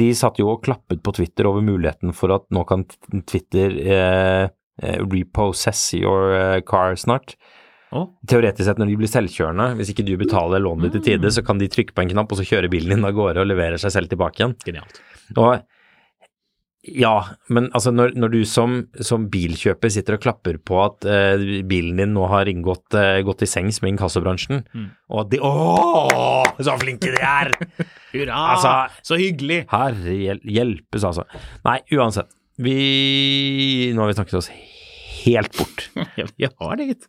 A: de satt jo og klappet på Twitter over muligheten for at nå kan Twitter eh, eh, repossess your eh, car snart.
B: Å.
A: Teoretisk sett, når de blir selvkjørende, hvis ikke du betaler lånet ditt i tide, så kan de trykke på en knapp, og så kjører bilen din av gårde og leverer seg selv tilbake igjen.
B: Genialt.
A: Og ja, men altså når, når du som, som bilkjøper sitter og klapper på at eh, bilen din nå har inngått, eh, gått i sengs med inkassobransjen,
B: Mm.
A: og at de Åh, så flinke de er!
B: Hurra!
A: Altså-
B: så hyggelig!
A: Herre hjel hjelpes, altså. Nei, uansett. Vi Nå har vi snakket oss helt bort.
B: Ja, vi har det, gitt.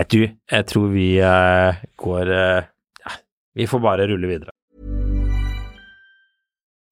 A: Jeg, du, jeg tror vi eh, går eh, ja, Vi får bare rulle videre.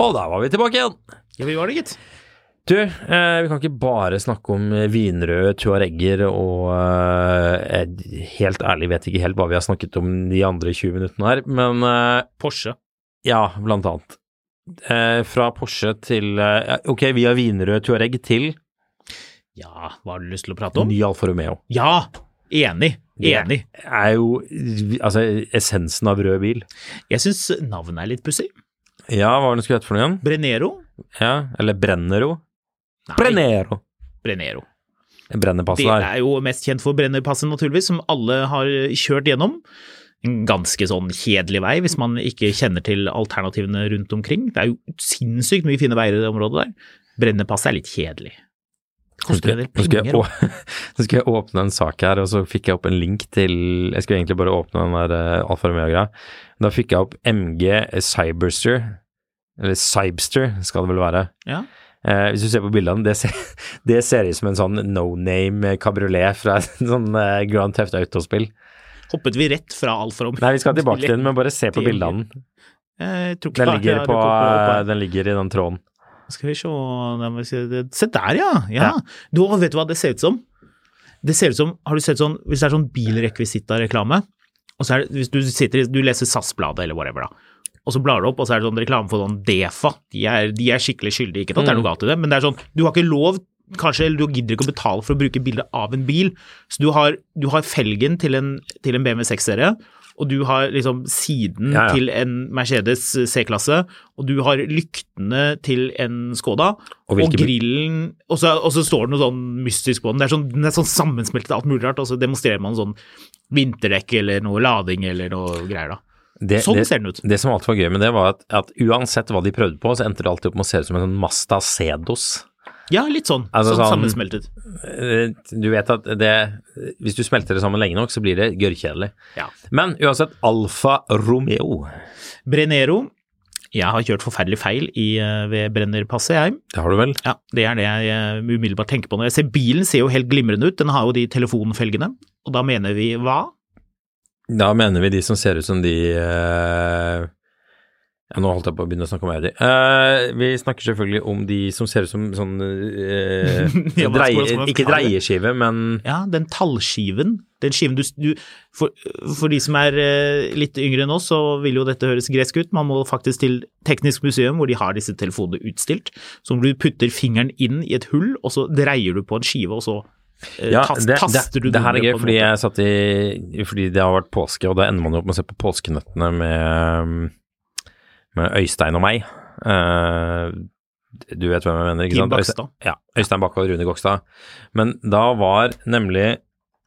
A: Og da var vi tilbake igjen!
B: Ja, vi var det, gitt.
A: Du, eh, vi kan ikke bare snakke om eh, vinrøde tuaregger og eh, jeg Helt ærlig vet ikke helt hva vi har snakket om de andre 20 minuttene her, men eh,
B: Porsche.
A: ja, blant annet. Eh, fra Porsche til eh, ja, Ok, via vinrød tuareg til
B: Ja, hva har du lyst til å prate om?
A: ny Alfa Romeo.
B: Ja, enig. Enig.
A: Det er jo eh, altså essensen av rød bil.
B: Jeg syns navnet er litt pussig.
A: Ja, hva var det den skulle hete for noe igjen?
B: Brenero.
A: Ja, Eller Brennero?
B: Nei,
A: Brennero!
B: Brenero.
A: Brennerpasset
B: Altså, Det
A: der.
B: er jo mest kjent for Brennerpasset, naturligvis, som alle har kjørt gjennom. En ganske sånn kjedelig vei, hvis man ikke kjenner til alternativene rundt omkring. Det er jo sinnssykt mye fine veier i det området der. Brennerpasset er litt kjedelig.
A: Nå
B: Koster en
A: skulle,
B: del
A: nå, skulle jeg,
B: penger.
A: å, nå skulle jeg åpne en sak her, og så fikk jeg opp en link til Jeg skulle egentlig bare åpne den der eh, Alfa Romeo-greia. Da fikk jeg opp MG Cyberster, eller Cybster skal det vel være.
B: Ja.
A: Eh, hvis du ser på bildene, det ser, det ser ut som en sånn no name kabriolet fra en sånn eh, Grand Theft Autospill.
B: Hoppet vi rett fra Alfa Romeo?
A: Nei, vi skal tilbake til den, men bare se på
B: Til-
A: bildene.
B: Jeg tror
A: Den
B: ikke det er-
A: ligger,
B: jeg
A: på,
B: dukker
A: eh,
B: opp her.
A: den ligger i den tråden.
B: Skal vi se da må vi se- Se der, ja. ja. Du, å, vet du hva det ser ut som? Det ser ut som, har du sett sånn, Hvis det er sånn bilrekvisitta-reklame, og så er det, hvis du sitter, i- du leser SAS-bladet eller whatever, da, og så blar du opp, og så er det sånn reklame for sånn Defa. De er, de er skikkelig skyldige, ikke at det er noe galt i det, men det er sånn, du har ikke lov Kanskje, eller Du gidder ikke å betale for å bruke bilde av en bil. Så Du har, du har felgen til en, til en BMW 6-serie, og du har liksom siden
A: Ja, ja.
B: til en Mercedes C-klasse, og du har lyktene til en Skoda,
A: Og
B: og,
A: hvilke-
B: grillen og så, og så står det noe sånn mystisk på den. Det er sånn, den er sånn sammensmeltet av alt mulig rart, og så demonstrerer man sånn vinterdekk eller noe lading eller noe greier, da.
A: Det,
B: Sånn
A: det,
B: ser den ut.
A: Det som alltid var gøy med det, var at, at uansett hva de prøvde på, så endte det alltid opp med å se ut som en sånn Mazda Cedos.
B: Ja, litt sånn.
A: Altså
B: sånn,
A: sånn-
B: sammensmeltet.
A: Eh, Du vet at det Hvis du smelter det sammen lenge nok, så blir det gørrkjedelig.
B: Ja.
A: Men uansett, Alfa Romeo
B: Brenero. Jeg har kjørt forferdelig feil i, eh, ved Brennerpasset, jeg.
A: Det har du vel?
B: Ja, det er det jeg eh, umiddelbart tenker på når jeg ser bilen. ser jo helt glimrende ut. Den har jo de telefonfelgene, og da mener vi hva?
A: Da mener vi de som ser ut som de eh, ja, Nå holdt jeg på å begynne å snakke om Audi. Eh, vi snakker selvfølgelig om de som ser ut som sånn eh,
B: Ja, hva skal- hva skal
A: dreie,
B: man
A: Ikke
B: kalle det?
A: dreieskive, men
B: Ja, den tallskiven. Den skiven du, du for, for de som er eh, litt yngre enn oss, så vil jo dette høres gresk ut. Man må faktisk til Teknisk museum, hvor de har disse telefonene utstilt. Som du putter fingeren inn i et hull, og så dreier du på en skive, og så eh,
A: Ja,
B: tas-
A: det,
B: taster
A: det,
B: du
A: det her er
B: nummeret
A: gøy,
B: på en
A: fordi
B: måte.
A: jeg satt i Fordi det har vært påske, og da ender man jo opp med å se på Påskenøttene med, med Øystein og meg. Eh, Du vet hvem jeg mener, ikke
B: Kim
A: sant?
B: Bakstad.
A: Øystein- Ja, Øystein Bakke og Rune Gokstad. Men da var nemlig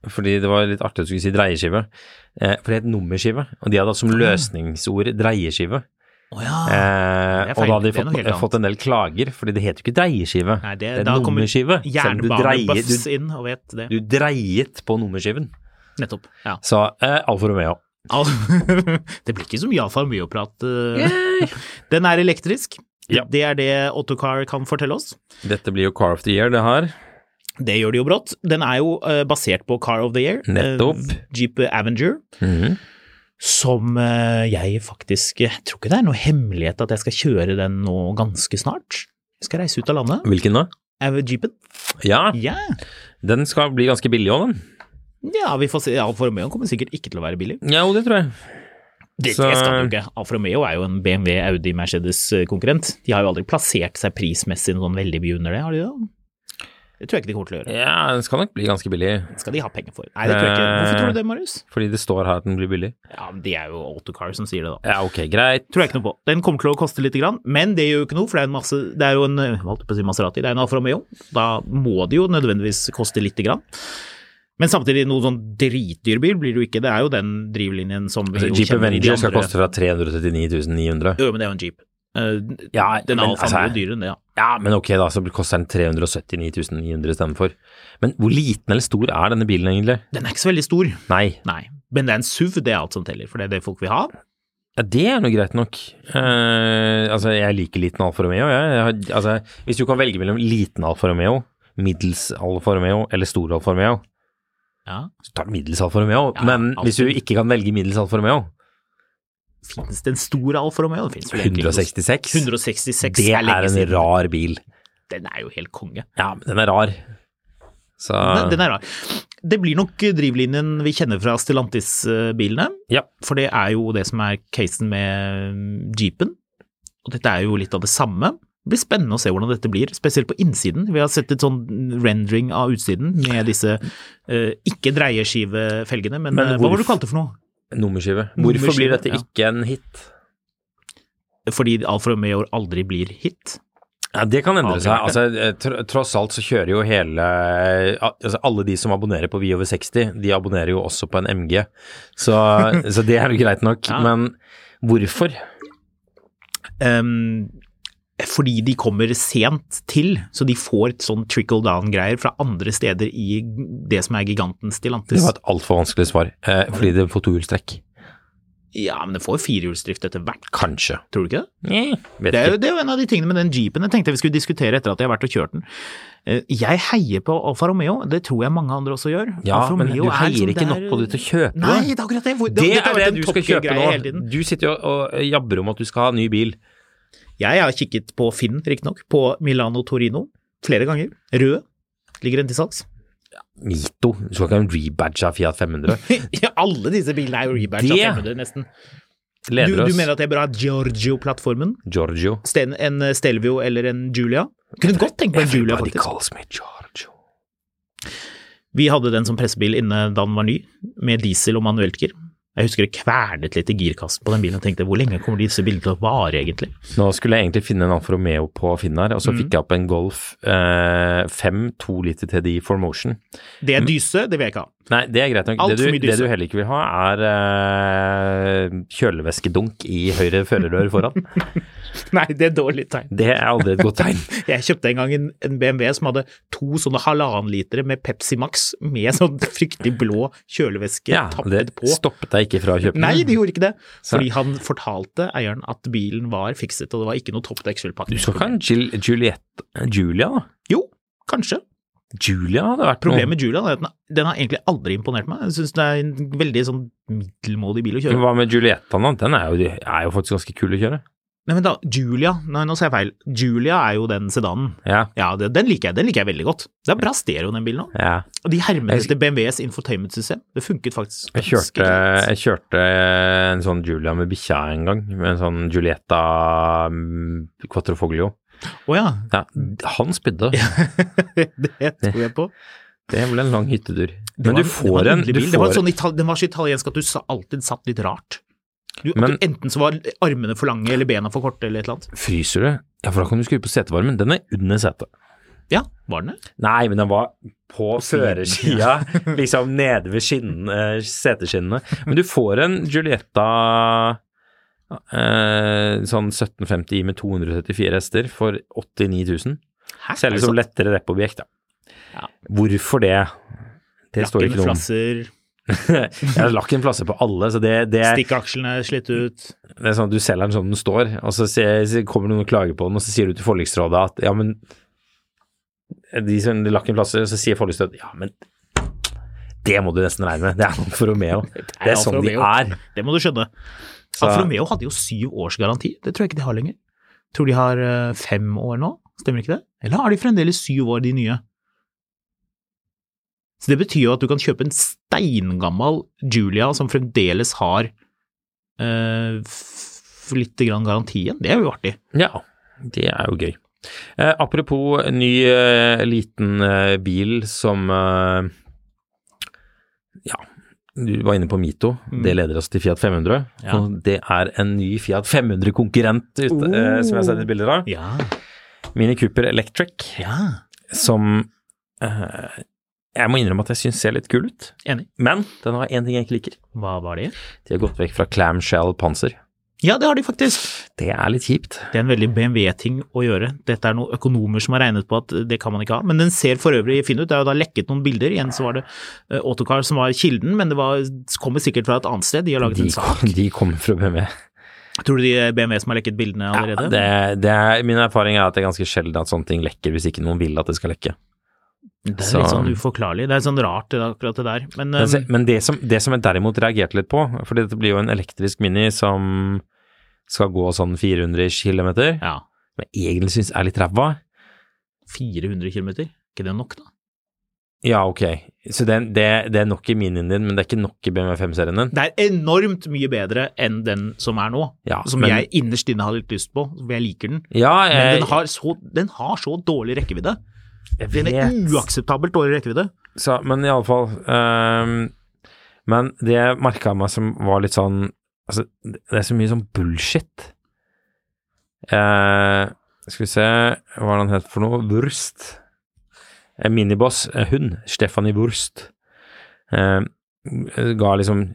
A: fordi det var litt artig at du skulle si dreieskive. Eh, for det het nummerskive, og de hadde hatt som løsningsord dreieskive.
B: Å
A: Eh,
B: ja. Ah. det er
A: og da hadde de
B: feil. Det er noe
A: fått,
B: helt annet.
A: fått en del klager, fordi det heter jo ikke dreieskive.
B: Nei,
A: det,
B: det,
A: er
B: da kommer
A: nummerskive. Selv om du dreier,
B: jernbanebuffs
A: du,
B: inn og vet det.
A: du dreiet på nummerskiven.
B: Nettopp. Ja.
A: Så eh, Alfa Romeo.
B: Al- det blir ikke så mye Alfa Romeo-prat. eh. Den er elektrisk.
A: Ja.
B: Det er det Autocar kan fortelle oss.
A: Dette blir jo Car of the Year, det her.
B: Det gjør det jo brått. Den er jo eh, basert på Car of the Year. eh,
A: Nettopp.
B: Jeep Avenger.
A: Mhm.
B: Som eh, jeg faktisk Jeg tror ikke det er noe hemmelighet at jeg skal kjøre den nå ganske snart. Jeg skal reise ut av landet.
A: Hvilken da?
B: Er Jeepen?
A: Ja,
B: Ja.
A: den skal bli ganske billig òg, den.
B: ja, vi får se. Alfa Romeo kommer sikkert ikke til å være billig.
A: Ja, jo, det tror jeg.
B: Det,
A: Så-
B: det skal du ikke. Alfa Romeo er jo en BMW, Audi, Mercedes-konkurrent. De har jo aldri plassert seg prismessig noe sånn veldig mye under det, har de det? Det tror jeg ikke de kommer til å gjøre.
A: Ja, den skal nok bli ganske billig,
B: Det skal de ha penger for. Nei, det tror jeg ikke. Hvorfor tror du det, Marius?
A: fordi det står her at den blir billig.
B: Ja, men De er jo Autocar som sier det, da.
A: Ja, ok, greit.
B: Tror jeg ikke noe på. Den kommer til å koste lite grann, men det gjør jo ikke noe, for det er, en masse, det er jo en eh, jeg holdt på å si Maserati, det er en Alfa Romeo. Da må det jo nødvendigvis koste lite grann. Men samtidig, noen sånn dritdyr bil blir det jo ikke. Det er jo den drivlinjen som vi jo
A: Altså, Jeep
B: kjenner i de
A: Avenger skal
B: andre-
A: koste fra 339 900.
B: Jo, men det er jo en Jeep. Eh,
A: Ja,
B: den
A: men
B: er Alfa
A: altså-
B: Romeo dyrere enn det, ja.
A: Ja, men ok, da, så koster den 379 900 istedenfor. Men hvor liten eller stor er denne bilen egentlig?
B: Den er ikke så veldig stor.
A: Nei,
B: Nei. Men det er en SUV, det er alt som teller, for det er det folk vil ha.
A: ja, det er nå greit nok. Eh, altså, jeg liker liten Alfa Romeo, jeg. jeg har, altså, hvis du kan velge mellom liten Alfa Romeo, middels Alfa Romeo eller stor Alfa Romeo,
B: Ja.
A: så tar du middels Alfa Romeo.
B: Ja,
A: men
B: alltid.
A: hvis du ikke kan velge middels Alfa Romeo,
B: Fins det en stor Alfa Romeo? Det finnes vel egentlig ikke noe-
A: 166,
B: 166
A: det er
B: lenge
A: en
B: siden.
A: rar bil.
B: Den er jo helt konge.
A: Ja, men den er rar. Så
B: Den, den er rar. Det blir nok drivlinjen vi kjenner fra Stellantis-bilene.
A: Ja.
B: For det er jo det som er casen med mm, jeepen. Og dette er jo litt av det samme. Det blir spennende å se hvordan dette blir, spesielt på innsiden. Vi har sett et sånn rendering av utsiden med disse eh, ikke dreieskivefelgene, men,
A: Men
B: eh, hva var
A: hvorf-
B: det du kalte det for noe?
A: Nummerskive.
B: Nummerskive,
A: Hvorfor blir dette
B: ja.
A: ikke en hit?
B: Fordi Alfa Romeo aldri blir hit.
A: Ja, Det kan endre
B: Aldri
A: seg.
B: vært
A: Altså, eh, tr tross alt så kjører jo hele eh, al- altså Alle de som abonnerer på Vi over 60, de abonnerer jo også på en MG. Så, så det er jo greit nok.
B: Ja.
A: Men hvorfor?
B: Ehm, fordi de kommer sent til, så de får et sånn trickle down-greier fra andre steder i det som er giganten
A: Det
B: Stellantis.
A: var et altfor vanskelig svar. Eh, fordi det får tohjulstrekk.
B: Ja, men det får jo firehjulsdrift etter hvert,
A: Kanskje.
B: tror du ikke det?
A: Vet
B: Det er, jo,
A: ikke.
B: det er jo en av de tingene med den jeepen jeg tenkte vi skulle diskutere etter at jeg har vært og kjørt den. Eh, Jeg heier på Alfa Romeo, det tror jeg mange andre også gjør.
A: Ja,
B: Alfa
A: men
B: Romeo
A: du
B: er
A: heier
B: liksom
A: ikke
B: det
A: nok
B: er-
A: på det til å kjøpe det.
B: Nei, det er akkurat det. Hvor-
A: Det
B: dette har
A: er
B: vært
A: det
B: en
A: du
B: Top
A: skal kjøpe
B: Gear-greie hele
A: nå.
B: tiden.
A: Du sitter jo og eh, jabber om at du skal ha en ny bil.
B: Jeg har kikket på Finn, riktignok, på Milano Torino flere ganger. Rød ligger den til salgs.
A: Mito. Du skal ikke ha en rebadge av Fiat 500.
B: Ja, alle disse bilene er jo rebadge
A: Det-
B: av 500, nesten. Du,
A: Leder
B: du
A: oss.
B: mener at det er bra Giorgio-plattformen?
A: Giorgio.
B: Sten- En eh, Stelvio eller en Julia? Kunne godt tenkt meg en Julia,
A: Everybody
B: faktisk.
A: calls me Giorgio.
B: Vi hadde den som pressebil inne da den var ny, med diesel og manueltgir. Jeg husker det kvernet litt i girkassen på den bilen og tenkte hvor lenge kommer disse bilene til å vare, egentlig?
A: Nå skulle jeg egentlig finne en Alfa Romeo på Finn her, og
B: Mm.
A: så fikk jeg opp en Golf eh, 5 2 liter TDI for motion.
B: Det er dyse, det vil jeg ikke ha.
A: Nei, det er greit nok.
B: Alt
A: Det
B: for
A: du,
B: mye
A: det
B: dyse.
A: du heller ikke vil ha, er eh, kjølevæskedunk i høyre førerrør foran.
B: Nei, det er dårlig tegn.
A: Det er aldri et godt tegn.
B: Jeg kjøpte en gang en, en BMW som hadde to sånne halvannenlitere med Pepsi Max med sånn fryktelig blå kjølevæske
A: Ja,
B: tappet
A: det
B: på.
A: stoppet deg ikke fra å kjøpe
B: Nei,
A: den.
B: de gjorde ikke det. Fordi han fortalte eieren at bilen var fikset, og det var ikke noe toppdekselpakke.
A: Du skal ikke ha en Gil Juliette eh, Julia, da?
B: Jo, kanskje.
A: Julia hadde vært
B: Problemet med Julian er at den, den har egentlig aldri imponert meg. Jeg syns det er en veldig sånn middelmådig bil å
A: noe. Men
B: kjøre.
A: Hva med Julietta, da? Den er jo, er jo faktisk ganske kul å kjøre.
B: Nei, men da, Julia Nei, nå sa jeg feil. Julia er jo den sedanen.
A: Ja.
B: Ja, det, den liker jeg. Den liker jeg veldig godt. Det er bra stereo, den bilen òg.
A: ja.
B: Og de hermet
A: Jeg-
B: etter BMWs infotainment-system. Det funket faktisk.
A: Jeg kjørte,
B: ganske greit.
A: jeg kjørte en sånn Julia med bikkja en gang, med en sånn Julietta mm, Quattrofoglio.
B: Å ja.
A: Ja, han spydde.
B: Det tror jeg på.
A: Det ble en lang hyttetur.
B: Det
A: Men
B: var-
A: du
B: det var
A: får en
B: yndlig
A: du
B: bil. Det var
A: får,
B: sånn itali- Den var så italiensk at du sa- alltid satt litt rart. Du, at
A: Men-
B: du enten så var armene for lange eller bena for korte eller et eller annet.
A: sånn- Fryser du? Ja, for da kan du skru på setevarmen. Den er under setet.
B: Ja, var den det?
A: Nei, men den var på førersida, liksom nede ved skinnen, eh, seteskinnene. Men du får en Giulietta eh, sånn 1750i med 234 hester for 89 000.
B: Hæ?
A: Selges som lettere reppobjekt, da.
B: Ja.
A: Hvorfor det? Det står ikke noe om.
B: Flasser,
A: Jeg lakk en flasse på alle, så det, det,
B: Stikkeakslene er slitt ut.
A: det er sånn at du selger den sånn den står, og så sier- så kommer noen og klager på den, og så sier du til forliksrådet at ja, men de som de lakk en flasse, så sier forliksrådet ja, men det må du nesten regne med, det er noe for Romeo. Det er
B: Alfa
A: sånn de
B: Romeo.
A: er.
B: Det må du skjønne.
A: Så-
B: Alfa Romeo hadde jo syv års garanti. Det tror jeg ikke de har lenger. Tror de har eh, fem år nå, stemmer ikke det? Eller har de fremdeles syv år, de nye? Så det betyr jo at du kan kjøpe en steingammal Julia som fremdeles har eh, f- lite grann garantien. Det er jo artig.
A: Ja, det er jo gøy. Eh, apropos ny eh, liten eh, bil som eh, Ja, du var inne på Mito. Det leder oss til Fiat 500.
B: Mm. Ja.
A: Og det er en ny Fiat 500-konkurrent ute,
B: Oh.
A: eh, som jeg har sett et bilde av.
B: Ja.
A: Mini Cooper Electric,
B: ja.
A: som eh, jeg må innrømme at jeg syns ser litt kul ut.
B: Enig.
A: Men den har én ting jeg ikke liker.
B: Hva var det?
A: De har gått vekk fra clamshell panser.
B: Ja, det har de faktisk.
A: Det er litt kjipt.
B: Det er en veldig BMW-ting å gjøre. Dette er noen økonomer som har regnet på at det kan man ikke ha. Men den ser for øvrig fin ut. Det er jo da lekket noen bilder. Igjen så var det eh, Autocar som var kilden, men det var, kommer sikkert fra et annet sted. De har laget
A: De,
B: en sak.
A: kom- de kommer fra BMW.
B: Tror du de eh, er BMW som har lekket bildene allerede?
A: det, det er, min erfaring er at det er ganske sjelden at sånne ting lekker hvis ikke noen vil at det skal lekke.
B: Det er
A: så-
B: litt sånn uforklarlig. Det er sånn rart det, akkurat det der. Men,
A: Men, se-
B: eh,
A: men det, som, det som jeg derimot reagerte litt på, for dette blir jo en elektrisk Mini som skal gå sånn 400 km,
B: ja,
A: som jeg egentlig syns er litt ræva.
B: 400 km. Ikke det nok, da?
A: Ja, ok. Så det, det, det er nok i Minien din, men det er ikke nok i BMW 5-serien din.
B: Det er enormt mye bedre enn den som er nå,
A: Ja,
B: som
A: men-
B: jeg innerst inne har litt lyst på, for jeg liker den.
A: Ja,
B: Men
A: jeg,
B: den har så, den har så dårlig rekkevidde.
A: Eh, jeg
B: Den er
A: vet.
B: uakseptabelt dårlig rekkevidde.
A: Så, men iallfall um, Men det jeg merka meg som var litt sånn Altså, det er så mye sånn bullshit. Eh, skal vi se Hva er det han het for noe? Wurst. En miniboss. En hund. Stephanie Wurst. Eh, ga liksom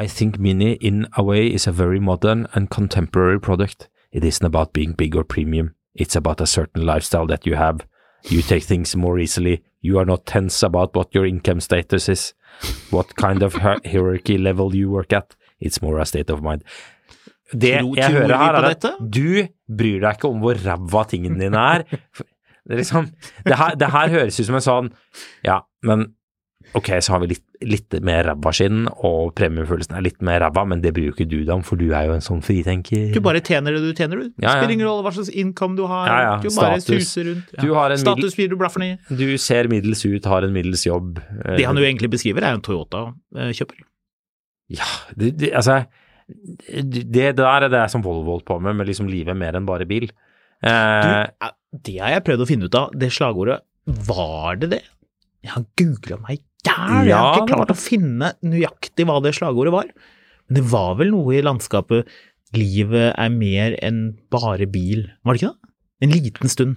A: I think Mini in a way is a very modern and contemporary product. It isn't about being big or premium. It's about a certain lifestyle that you have. You take things more easily. You are not tense about what your income status is, what kind of hi- hierarchy level you work at. It's more a state of mind. Det
B: Tror-
A: jeg
B: tror
A: hører
B: vi
A: her,
B: på
A: er at
B: dette?
A: du bryr deg ikke om hvor ræva tingene dine er. For- Det, er liksom, det, her, det her høres ut som en sånn Ja, men ok, så har vi litt, litt mer ræva skinn, og premiefølelsen er litt mer ræva, men det bryr jo ikke du deg om, for du er jo en sånn fritenker.
B: Du bare tjener det du tjener, du.
A: Ja, ja.
B: Spiller ingen rolle hva slags income du har.
A: Ja, ja.
B: Du bare
A: Status.
B: suser rundt.
A: Du har en middel-
B: Status blir du blaffer ned i.
A: Du ser middels ut, har en middels jobb. eh,
B: Det han jo egentlig beskriver, er en eh, Toyota-kjøper.
A: Ja, det, det, altså det, det der er det jeg som Volvo holdt på med, med liksom livet mer enn bare bil. Eh,
B: Det har jeg prøvd å finne ut av, det slagordet. Var det det? Jeg har googla meg i hjel. Jeg
A: Ja,
B: har ikke
A: det var
B: klart å finne nøyaktig hva det slagordet var. Men det var vel noe i landskapet 'Livet er mer enn bare bil'. Var det ikke det? En liten stund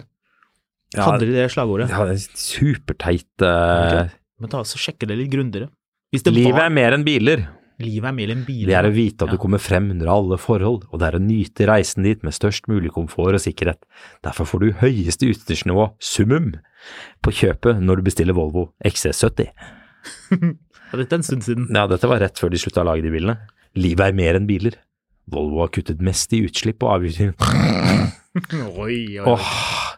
A: Ja.
B: hadde de det slagordet.
A: ja, det er superteit eh,
B: Men ta så sjekke det litt grundigere. Hvis det
A: Livet
B: var
A: er mer enn biler.
B: Livet er mer enn biler.
A: Det er å vite at du
B: Ja.
A: kommer frem under alle forhold, og det er å nyte reisen dit med størst mulig komfort og sikkerhet. Derfor får du høyeste utstyrsnivå, summum, på kjøpet når du bestiller Volvo XC70.
B: Ja, dette er en stund siden.
A: Ja, dette var rett før de slutta å lage de bilene. Livet er mer enn biler. Volvo har kuttet mest i utslipp og avgifter.
B: Oi, oi.
A: Åh,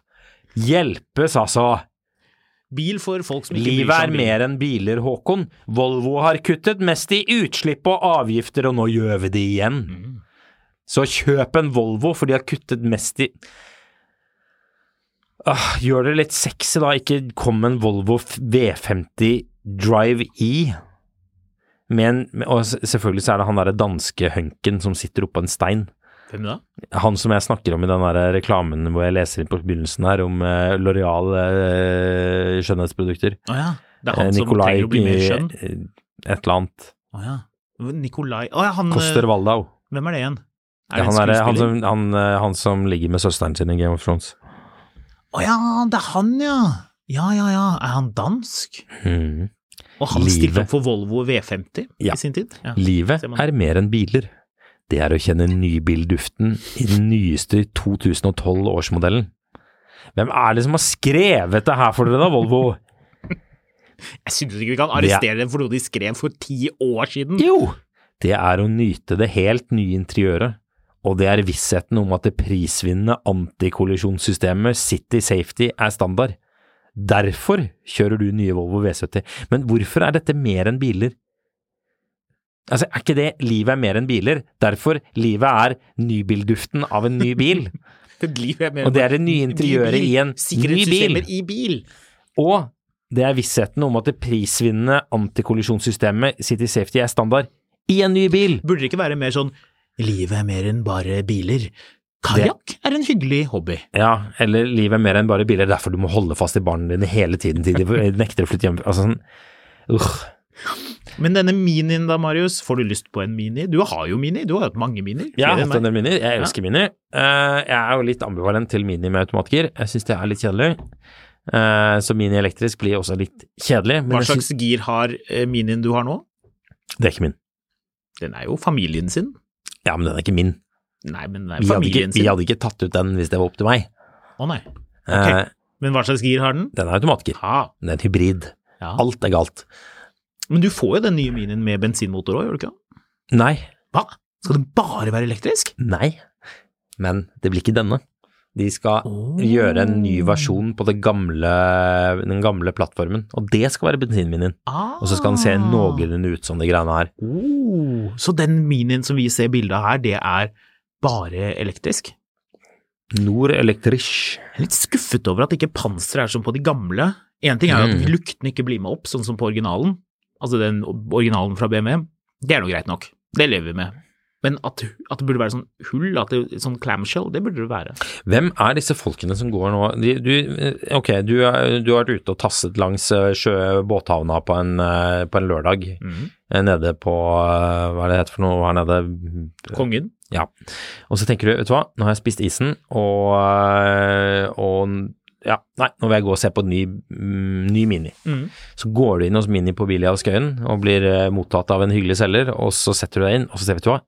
A: hjelpes altså!
B: Bil for folk som ikke bryr
A: Livet
B: seg
A: er
B: om bil.
A: mer enn biler, Håkon. Volvo har kuttet mest i utslipp og avgifter, og nå gjør vi det igjen.
B: Mm.
A: Så kjøp en Volvo, for de har kuttet mest i Ah, Gjør det litt sexy, da. Ikke kom med en Volvo f- V50 Drive E. Men, og s- selvfølgelig så er det han derre danske hunken som sitter oppå en stein.
B: Hvem da?
A: Han som jeg snakker om i den der reklamen hvor jeg leser inn på begynnelsen her om eh, Loreal eh, skjønnhetsprodukter.
B: Å ja. Det er
A: Eh,
B: han
A: Nikolai
B: som trenger å bli mer skjønn.
A: eh, Et eller annet.
B: Å ja. Nikolai Å ja, han eh,
A: Koster Waldau.
B: Hvem er det igjen? Er
A: Ja,
B: det en
A: han, er, eh, han,
B: skuespiller?
A: som, han, eh, han som ligger med søsteren sin i Game of Thrones.
B: Å ja, det er han, ja. Ja, ja, ja. Er han dansk?
A: Mhm.
B: Og han stilte
A: Livet.
B: opp for Volvo V50
A: Ja.
B: i sin tid? Ja.
A: Livet
B: Ser man.
A: er mer enn biler. Det er å kjenne nybilduften i den nyeste 2012-årsmodellen. Hvem er det som har skrevet det her for dere da, Volvo?
B: Jeg synes ikke vi kan arrestere dem for noe de skrev for ti år siden.
A: Jo! Mm. Det er å nyte det helt nye interiøret. Og det er vissheten om at det prisvinnende antikollisjonssystemet City Safety er standard. Derfor kjører du nye Volvo V70. Men hvorfor er dette mer enn biler? Altså, er ikke det livet er mer enn biler? Derfor livet er nybilduften av en ny bil.
B: Det liv jeg mener.
A: Og det er det nye interiøret i en ny bil.
B: Sikkerhetssystemer i bil.
A: Og det er vissheten om at det prisvinnende antikollisjonssystemet City Safety er standard i en ny bil.
B: Burde det ikke være mer sånn livet er mer enn bare biler? Kajakk er en hyggelig hobby.
A: Ja, eller livet er mer enn bare biler, derfor du må holde fast i barna dine hele tiden til de nekter å flytte hjem. Altså sånn, uh,
B: Men denne minien da, Marius, får du lyst på en mini? Du har jo mini, du har hatt mange minier.
A: jeg har
B: flere enn
A: hatt en
B: meg.
A: del minier, jeg elsker minier. Eh, jeg er jo litt ambivalent til mini med automatgir, jeg syns det er litt kjedelig. Eh, så mini elektrisk blir også litt kjedelig, men
B: Hva
A: jeg
B: slags
A: synes,
B: gir har eh, minien du har nå?
A: det er ikke min.
B: Den er jo familien sin.
A: Ja, men den er ikke min.
B: Nei, men den er
A: Vi hadde, ikke,
B: familien
A: vi
B: sin.
A: hadde ikke tatt ut den hvis det var opp til meg.
B: Å nei.
A: Eh,
B: Men hva slags gir har den?
A: den er automatgir.
B: Ha.
A: Den er en hybrid.
B: Ja.
A: Alt er galt.
B: Men du får jo den nye minien med bensinmotor òg, gjør du ikke det?
A: Nei,
B: Hva? Skal den bare være elektrisk?
A: nei. Men det blir ikke denne. De skal gjøre en ny versjon på det gamle, den gamle plattformen, og det skal være bensinminien.
B: Ah.
A: Og så skal den se noenlunde ut som de greiene her.
B: Oh, så den minien som vi ser bilde av her, det er bare elektrisk?
A: Nord Elektrisch.
B: Jeg er litt skuffet over at ikke panseret er som på de gamle. Én ting er jo at
A: Mm.
B: lukten ikke blir med opp, sånn som på originalen. Altså den originalen fra BMW. Det er nå greit nok. Det lever vi med. Men at, at det burde være sånn hull, at det, sånn clamshell, det burde det være.
A: Hvem er disse folkene som går nå de, du, eh, Ok, du, er- du har vært ute og tasset langs eh, sjø, båthavna på en, eh, på en lørdag eh, nede på eh, Hva er det det heter for noe her nede?
B: Kongen.
A: Ja. Og så tenker du, vet du hva, nå har jeg spist isen, og, øh, og ja, nei, nå vil jeg gå og se på ny, mm, ny Mini. Så går du inn hos Mini på Bilia og Skøyen og blir eh, mottatt av en hyggelig selger, og så setter du deg inn, og så ser vet du hva,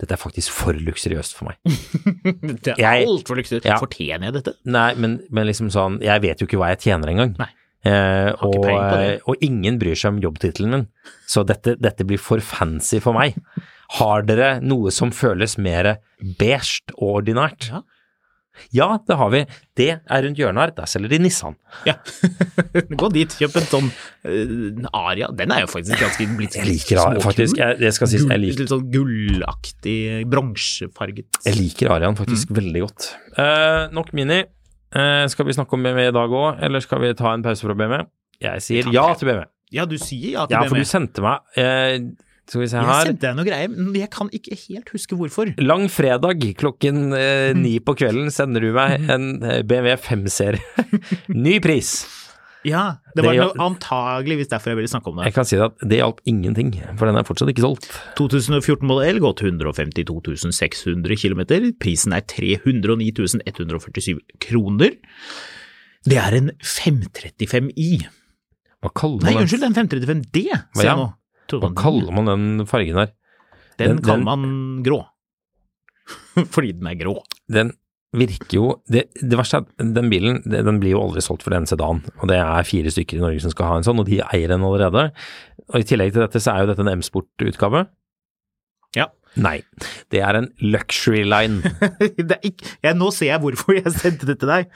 A: dette er faktisk for luksuriøst for meg.
B: Det er
A: Jeg-
B: altfor luksus.
A: Ja.
B: Fortjener jeg dette?
A: Nei, men, men liksom sånn, jeg vet jo ikke hva jeg tjener engang.
B: Nei.
A: Eh,
B: ikke
A: og,
B: peiling på det.
A: og ingen bryr seg om jobbtittelen min, så dette, dette blir for fancy for meg. Har dere noe som føles mer beige og ordinært?
B: Ja.
A: Ja, det har vi. Det er rundt hjørnet her. Der selger de Nissan.
B: Ja. Gå dit, kjøp en sånn eh, Aria. Den er jo faktisk ganske blitt
A: Jeg liker Arian, faktisk. Jeg, det skal sies, jeg,
B: Gull,
A: liker,
B: litt sånn gullaktig, bronsefarget.
A: jeg liker Arian faktisk veldig godt. Eh, nok Mini. Eh, skal vi snakke om BMW i dag òg, eller skal vi ta en pause fra BMW? Jeg sier ja til BMW.
B: Ja, du sier ja til
A: Ja, for
B: BMW.
A: du sendte meg eh, Skal vi se
B: jeg
A: her.
B: sendte deg noe greier, men jeg kan ikke helt huske hvorfor.
A: Lang fredag klokken eh,
B: Mm.
A: ni på kvelden sender du meg en eh, BMW 5-serie. Ny pris!
B: Ja, Det
A: Det
B: var
A: gjør-
B: noe antageligvis derfor jeg ville snakke om det.
A: Jeg kan si deg at det hjalp ingenting, for den er fortsatt ikke solgt.
B: 2014 modell går til 152 600 km. Prisen er 309 147 kroner. Det er en 535i.
A: Hva kaller man
B: Nei,
A: den?
B: unnskyld, sånn- en 535d,
A: Hva,
B: ser
A: ja?
B: jeg nå. Trodde
A: Hva
B: man-
A: kaller man den fargen her?
B: Den,
A: Den- den-
B: kaller man grå. Fordi den er grå.
A: Den virker jo Det, det verste er at den bilen det- den blir jo aldri solgt for en sedan, og det er fire stykker i Norge som skal ha en sånn, og de eier den allerede. Og I tillegg til dette så er jo dette en M-Sport-utgave.
B: Ja.
A: Nei, det er en luxury line.
B: det er ikke, jeg, nå ser jeg hvorfor jeg sendte det til deg.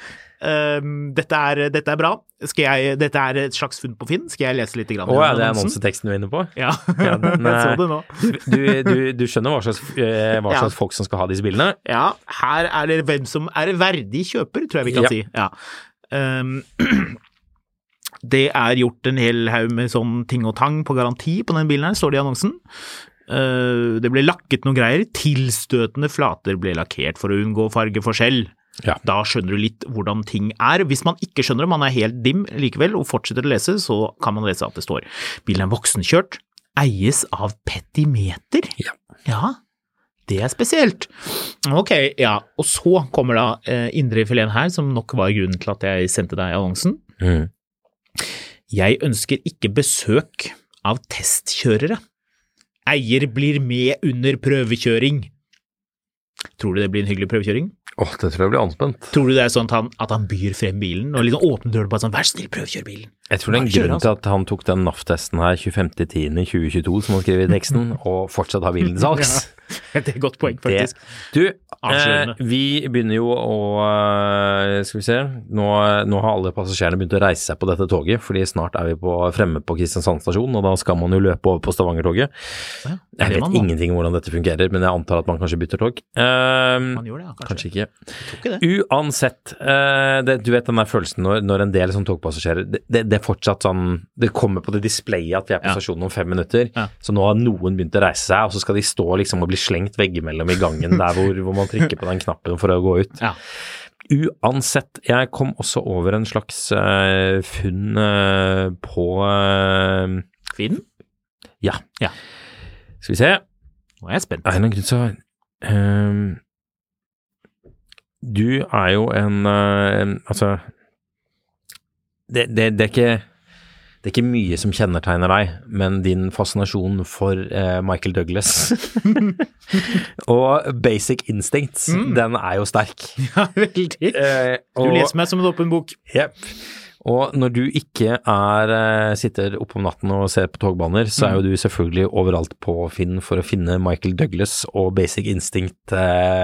B: Ehm, dette, er, dette er bra. Skal jeg, dette er et slags funn på Finn. Skal jeg lese litt? Grann
A: Å ja,
B: gjennom
A: det er
B: annonsen?
A: annonseteksten du er inne på?
B: Ja, eh,
A: Ja, den
B: jeg så
A: er-
B: det nå.
A: Du, du, du skjønner hva slags, eh, hva
B: Ja.
A: slags folk som skal ha disse bilene?
B: Ja, her er det hvem som er verdig kjøper, tror jeg vi kan
A: Ja.
B: si. Ja. Ehm, det er gjort en hel haug med sånn ting og tang på garanti på den bilen her, står det i annonsen. Eh, det ble lakket noen greier. Tilstøtende flater ble lakkert for å unngå fargeforskjell.
A: Ja.
B: Da skjønner du litt hvordan ting er. Hvis man ikke skjønner det, man er helt dim likevel og fortsetter å lese, så kan man lese at det står bilen er voksenkjørt, eies av petimeter.
A: Ja.
B: ja. Det er spesielt. Ok, ja. Og så kommer da eh, indrefileten her, som nok var grunnen til at jeg sendte deg annonsen.
A: Mhm.
B: Jeg ønsker ikke besøk av testkjørere. Eier blir med under prøvekjøring. Tror du det blir en hyggelig prøvekjøring?
A: Åh, det tror jeg blir anspent.
B: Tror du det er sånn at han, at han byr frem bilen og liksom åpner døren på en sånn vær så snill, prøvekjør bilen?
A: Jeg tror det er en
B: Bare kjøre,
A: grunn til at han tok den NAF-testen her 25.10.2022, som han skriver i teksten, og fortsatt har bilen til salgs.
B: Det er et godt poeng, faktisk.
A: Det. Du, eh,
B: Avslørende.
A: vi begynner jo å eh, Skal vi se. Nå, nå har alle passasjerene begynt å reise seg på dette toget, fordi snart er vi på, fremme på Kristiansand stasjon, og da skal man jo løpe over på Stavanger-toget.
B: Ja, det
A: Jeg
B: er det
A: vet
B: man må.
A: ingenting om hvordan dette fungerer, men jeg antar at man kanskje bytter tog. Eh,
B: Man gjør det, ja, kanskje.
A: kanskje ikke.
B: Tror ikke det.
A: Uansett, eh, det, du vet den der følelsen når, når en del sånn togpassasjerer det, det, det er fortsatt sånn Det kommer på det displayet at vi er på
B: Ja.
A: stasjonen om fem minutter,
B: Ja.
A: så nå har noen begynt å reise seg, og så skal de stå liksom og bli slengt veggimellom i gangen der hvor, hvor man trykker på den knappen for å gå ut.
B: Ja.
A: Uansett, jeg kom også over en slags eh, funn eh, på eh,
B: Finn?
A: Ja.
B: Ja.
A: Skal vi se.
B: Nå er jeg spent.
A: Av en eller annen grunn så ehm, Du er jo en eh, Altså det, det, det er ikke det er ikke mye som kjennetegner deg, men din fascinasjon for eh, Michael Douglas og Basic Instincts, den er jo sterk.
B: Ja, Mm. veldig.
A: Eh,
B: Du
A: og-
B: leser meg som en åpen bok.
A: Jepp. Og når du ikke er, eh, sitter oppe om natten og ser på togbaner, så
B: Mm.
A: er jo du selvfølgelig overalt på Finn for å finne Michael Douglas og Basic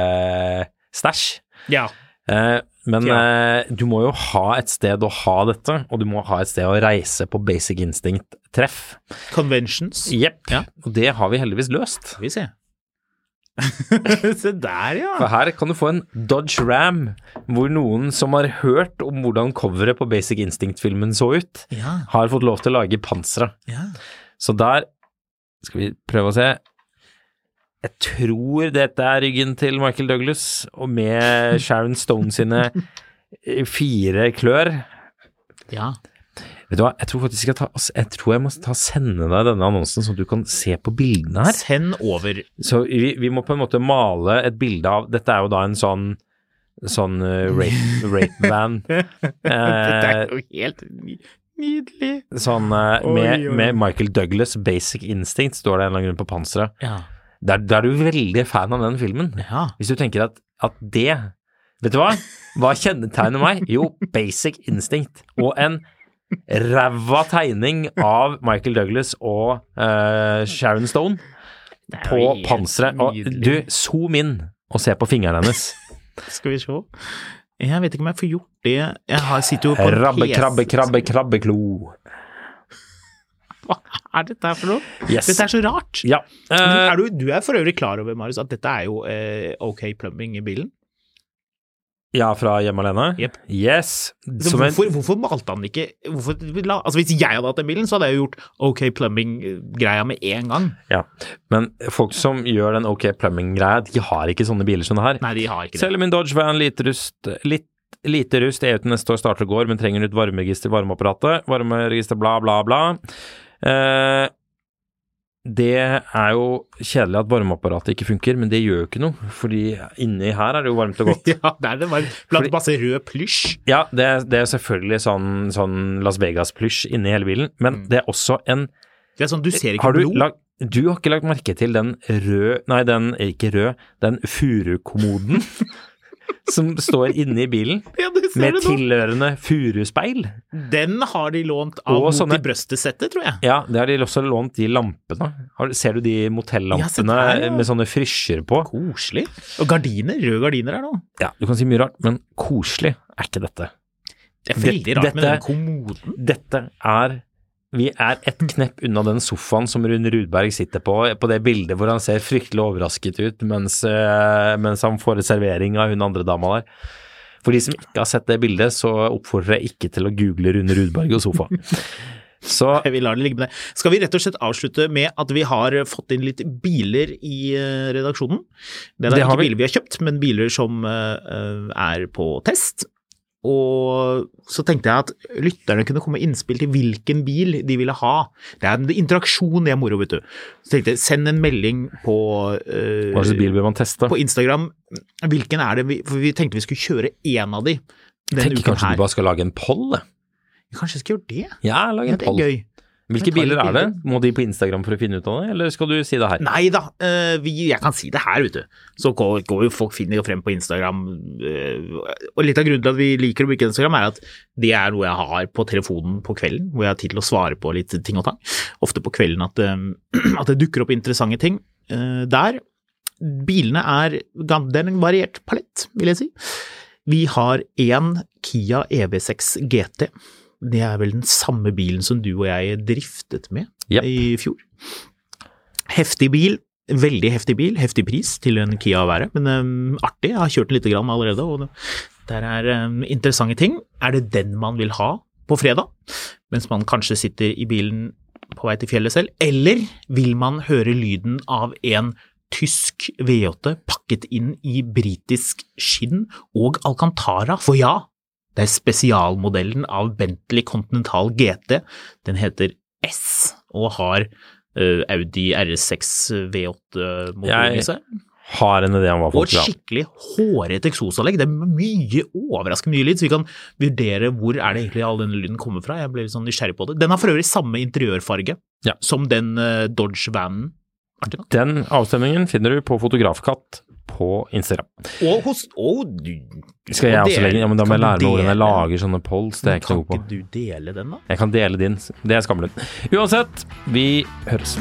A: Instinct-stæsj.
B: Ja.
A: Eh, men
B: Ja.
A: eh, du må jo ha et sted å ha dette, og du må ha et sted å reise på Basic Instinct-treff.
B: Conventions.
A: Jepp.
B: Ja.
A: Og det har vi heldigvis løst.
B: Skal vi se. Se der, ja.
A: For her kan du få en Dodge Ram, hvor noen som har hørt om hvordan coveret på Basic Instinct-filmen så ut,
B: Ja,
A: har fått lov til å lage panseret.
B: ja.
A: Så der skal vi prøve å se. Jeg tror dette er ryggen til Michael Douglas, og med Sharon Stone sine eh, fire klør.
B: ja.
A: Vet du hva, jeg tror faktisk jeg, skal ta, altså, jeg, tror jeg må ta sende deg denne annonsen, sånn at du kan se på bildene her.
B: Send over.
A: Så vi, vi må på en måte male et bilde av Dette er jo da en sånn sånn eh, rape, rape van.
B: Dette
A: Eh,
B: er jo helt ny- nydelig.
A: sånn eh,
B: Oi,
A: med,
B: oi.
A: med Michael Douglas, Basic Instinct, står det en eller annen grunn på panseret.
B: Ja.
A: Da er, da er du veldig fan av den filmen.
B: Ja.
A: Hvis du tenker at, at det Vet du hva? Hva kjennetegner meg? Jo, basic instinct. Og en ræva tegning av Michael Douglas og eh, Sharon Stone
B: Det er
A: på
B: jo helt
A: panseret. Og du,
B: nydelig.
A: zoom inn og se på fingrene hennes.
B: Skal vi se. Jeg vet ikke om jeg får gjort det. Jeg har, sitter jo på en
A: Krabbe,
B: PC.
A: krabbe, krabbe, krabbeklo.
B: Hva er dette her for noe?
A: Yes.
B: Dette er så rart.
A: Ja.
B: Men
A: eh,
B: er du, du er for øvrig klar over, Marius, at dette er jo eh, OK plumbing i bilen?
A: ja, fra Hjemme alene?
B: Jep.
A: Yes.
B: Så
A: Som en
B: hvorfor, hvorfor malte han ikke hvorfor, la, altså Hvis jeg hadde hatt den bilen, så hadde jeg jo gjort OK plumbing-greia med en gang.
A: Ja. Men folk som gjør den OK plumbing-greia, de har ikke sånne biler som det her.
B: Nei, de har ikke det.
A: Selger min Dodge Van lite rust, litt, lite rust, er ute neste år, starter og går, men trenger nytt varmeregister, varmeapparatet, varmeregister, bla, bla, bla. Eh, det er jo kjedelig at varmeapparatet ikke funker, men det gjør jo ikke noe, fordi inni her er det jo varmt og godt.
B: Ja, det er det bare
A: Fordi-
B: blant masse rød plysj.
A: Ja, det, er- det er selvfølgelig sånn, sånn Las Vegas-plysj inni hele bilen, men det er også en
B: Det er sånn, du Mm. ser ikke
A: Eh, har du,
B: blod.
A: lagt, du har ikke lagt merke til den rød, nei den, ikke rød, den furukommoden som står inne i bilen
B: Ja, du ser
A: med
B: det nå.
A: tilhørende furuspeil.
B: Den har de lånt av
A: Og
B: mot
A: sånne-
B: i brøstet-settet, tror jeg.
A: Ja, det har de også lånt de lampene. Har, ser du de
B: Ja, se der,
A: motellampene
B: ja.
A: med sånne frysjer på?
B: Koselig. Og gardiner, røde gardiner her nå.
A: Ja, du kan si mye rart, men koselig er ikke dette.
B: Det er veldig
A: Dette-
B: rart med den
A: dette-
B: kommoden.
A: Dette er vi er et knepp unna den sofaen som Rune Rudberg sitter på, på det bildet hvor han ser fryktelig overrasket ut mens, eh, mens han får en servering av hun andre dama der. For de som ikke har sett det bildet, så oppfordrer jeg ikke til å google Rune Rudberg og sofa. Så
B: Vi lar det ligge med det. Skal vi rett og slett avslutte med at vi har fått inn litt biler i eh, redaksjonen? Det er
A: Det
B: da
A: har
B: ikke
A: vi.
B: biler vi har kjøpt, men biler som eh, eh, er på test. Og så tenkte jeg at lytterne kunne komme med innspill til hvilken bil de ville ha. Det er en interaksjon, det er moro, vet du. Så tenkte jeg, send en melding på eh,
A: Hva slags bil bør man teste?
B: på Instagram. Hvilken er det vi For vi tenkte vi skulle kjøre én av de denne
A: Tenker
B: uken
A: kanskje
B: her.
A: du bare skal lage en poll? jeg.
B: Kanskje jeg skal gjøre det?
A: Ja, lag
B: Ja,
A: en
B: det er
A: poll.
B: gøy.
A: Hvilke
B: Jeg tar
A: biler
B: litt
A: er det? Må de på Instagram for å finne ut av det, eller skal du si det her?
B: Nei da, eh, vi, jeg kan si det her, vet du. Så går, går jo folk finner jo frem på Instagram. eh, og litt av grunnen til at vi liker å bruke Instagram, er at det er noe jeg har på telefonen på kvelden, hvor jeg har tid til å svare på litt ting og tang. Ofte på kvelden at, eh, at det dukker opp interessante ting eh, der. Bilene er gan- det er en variert palett, vil jeg si. Vi har én Kia E EV6 GT. Det er vel den samme bilen som du og jeg driftet med
A: Japp.
B: i fjor. Heftig bil. Veldig heftig bil. Heftig pris til en Kia å være, men øhm, artig. Jeg har kjørt den litt grann allerede, og det- der er øhm, interessante ting. Er det den man vil ha på fredag, mens man kanskje sitter i bilen på vei til fjellet selv? Eller vil man høre lyden av en tysk V8 pakket inn i britisk skinn og Alcantara? For ja, det er spesialmodellen av Bentley Continental GT. Den heter S og har eh, Audi R6 V8-motoren
A: Jeg-
B: i seg.
A: Har en idé om hva
B: Og
A: folk
B: et
A: vil ha.
B: skikkelig hårete eksosanlegg. Det er mye overraskende mye lyd, så vi kan vurdere hvor er det egentlig all denne lyden kommer fra. Jeg ble litt sånn nysgjerrig på det. Den har for øvrig samme interiørfarge
A: Ja.
B: som den eh, Dodge vanen. Artig nok.
A: Den avstemningen finner du på Fotografkatt på Instagram.
B: Og hos Å, du
A: Skal jeg
B: og
A: også
B: dele-
A: legge Ja, men da må
B: kan
A: jeg
B: du
A: lære meg hvordan jeg
B: dele-
A: lager sånne polls. Det er jeg ikke
B: Kan
A: noe god på.
B: ikke du dele den, da?
A: Jeg kan dele din. Det er skamlund. Uansett, vi høres.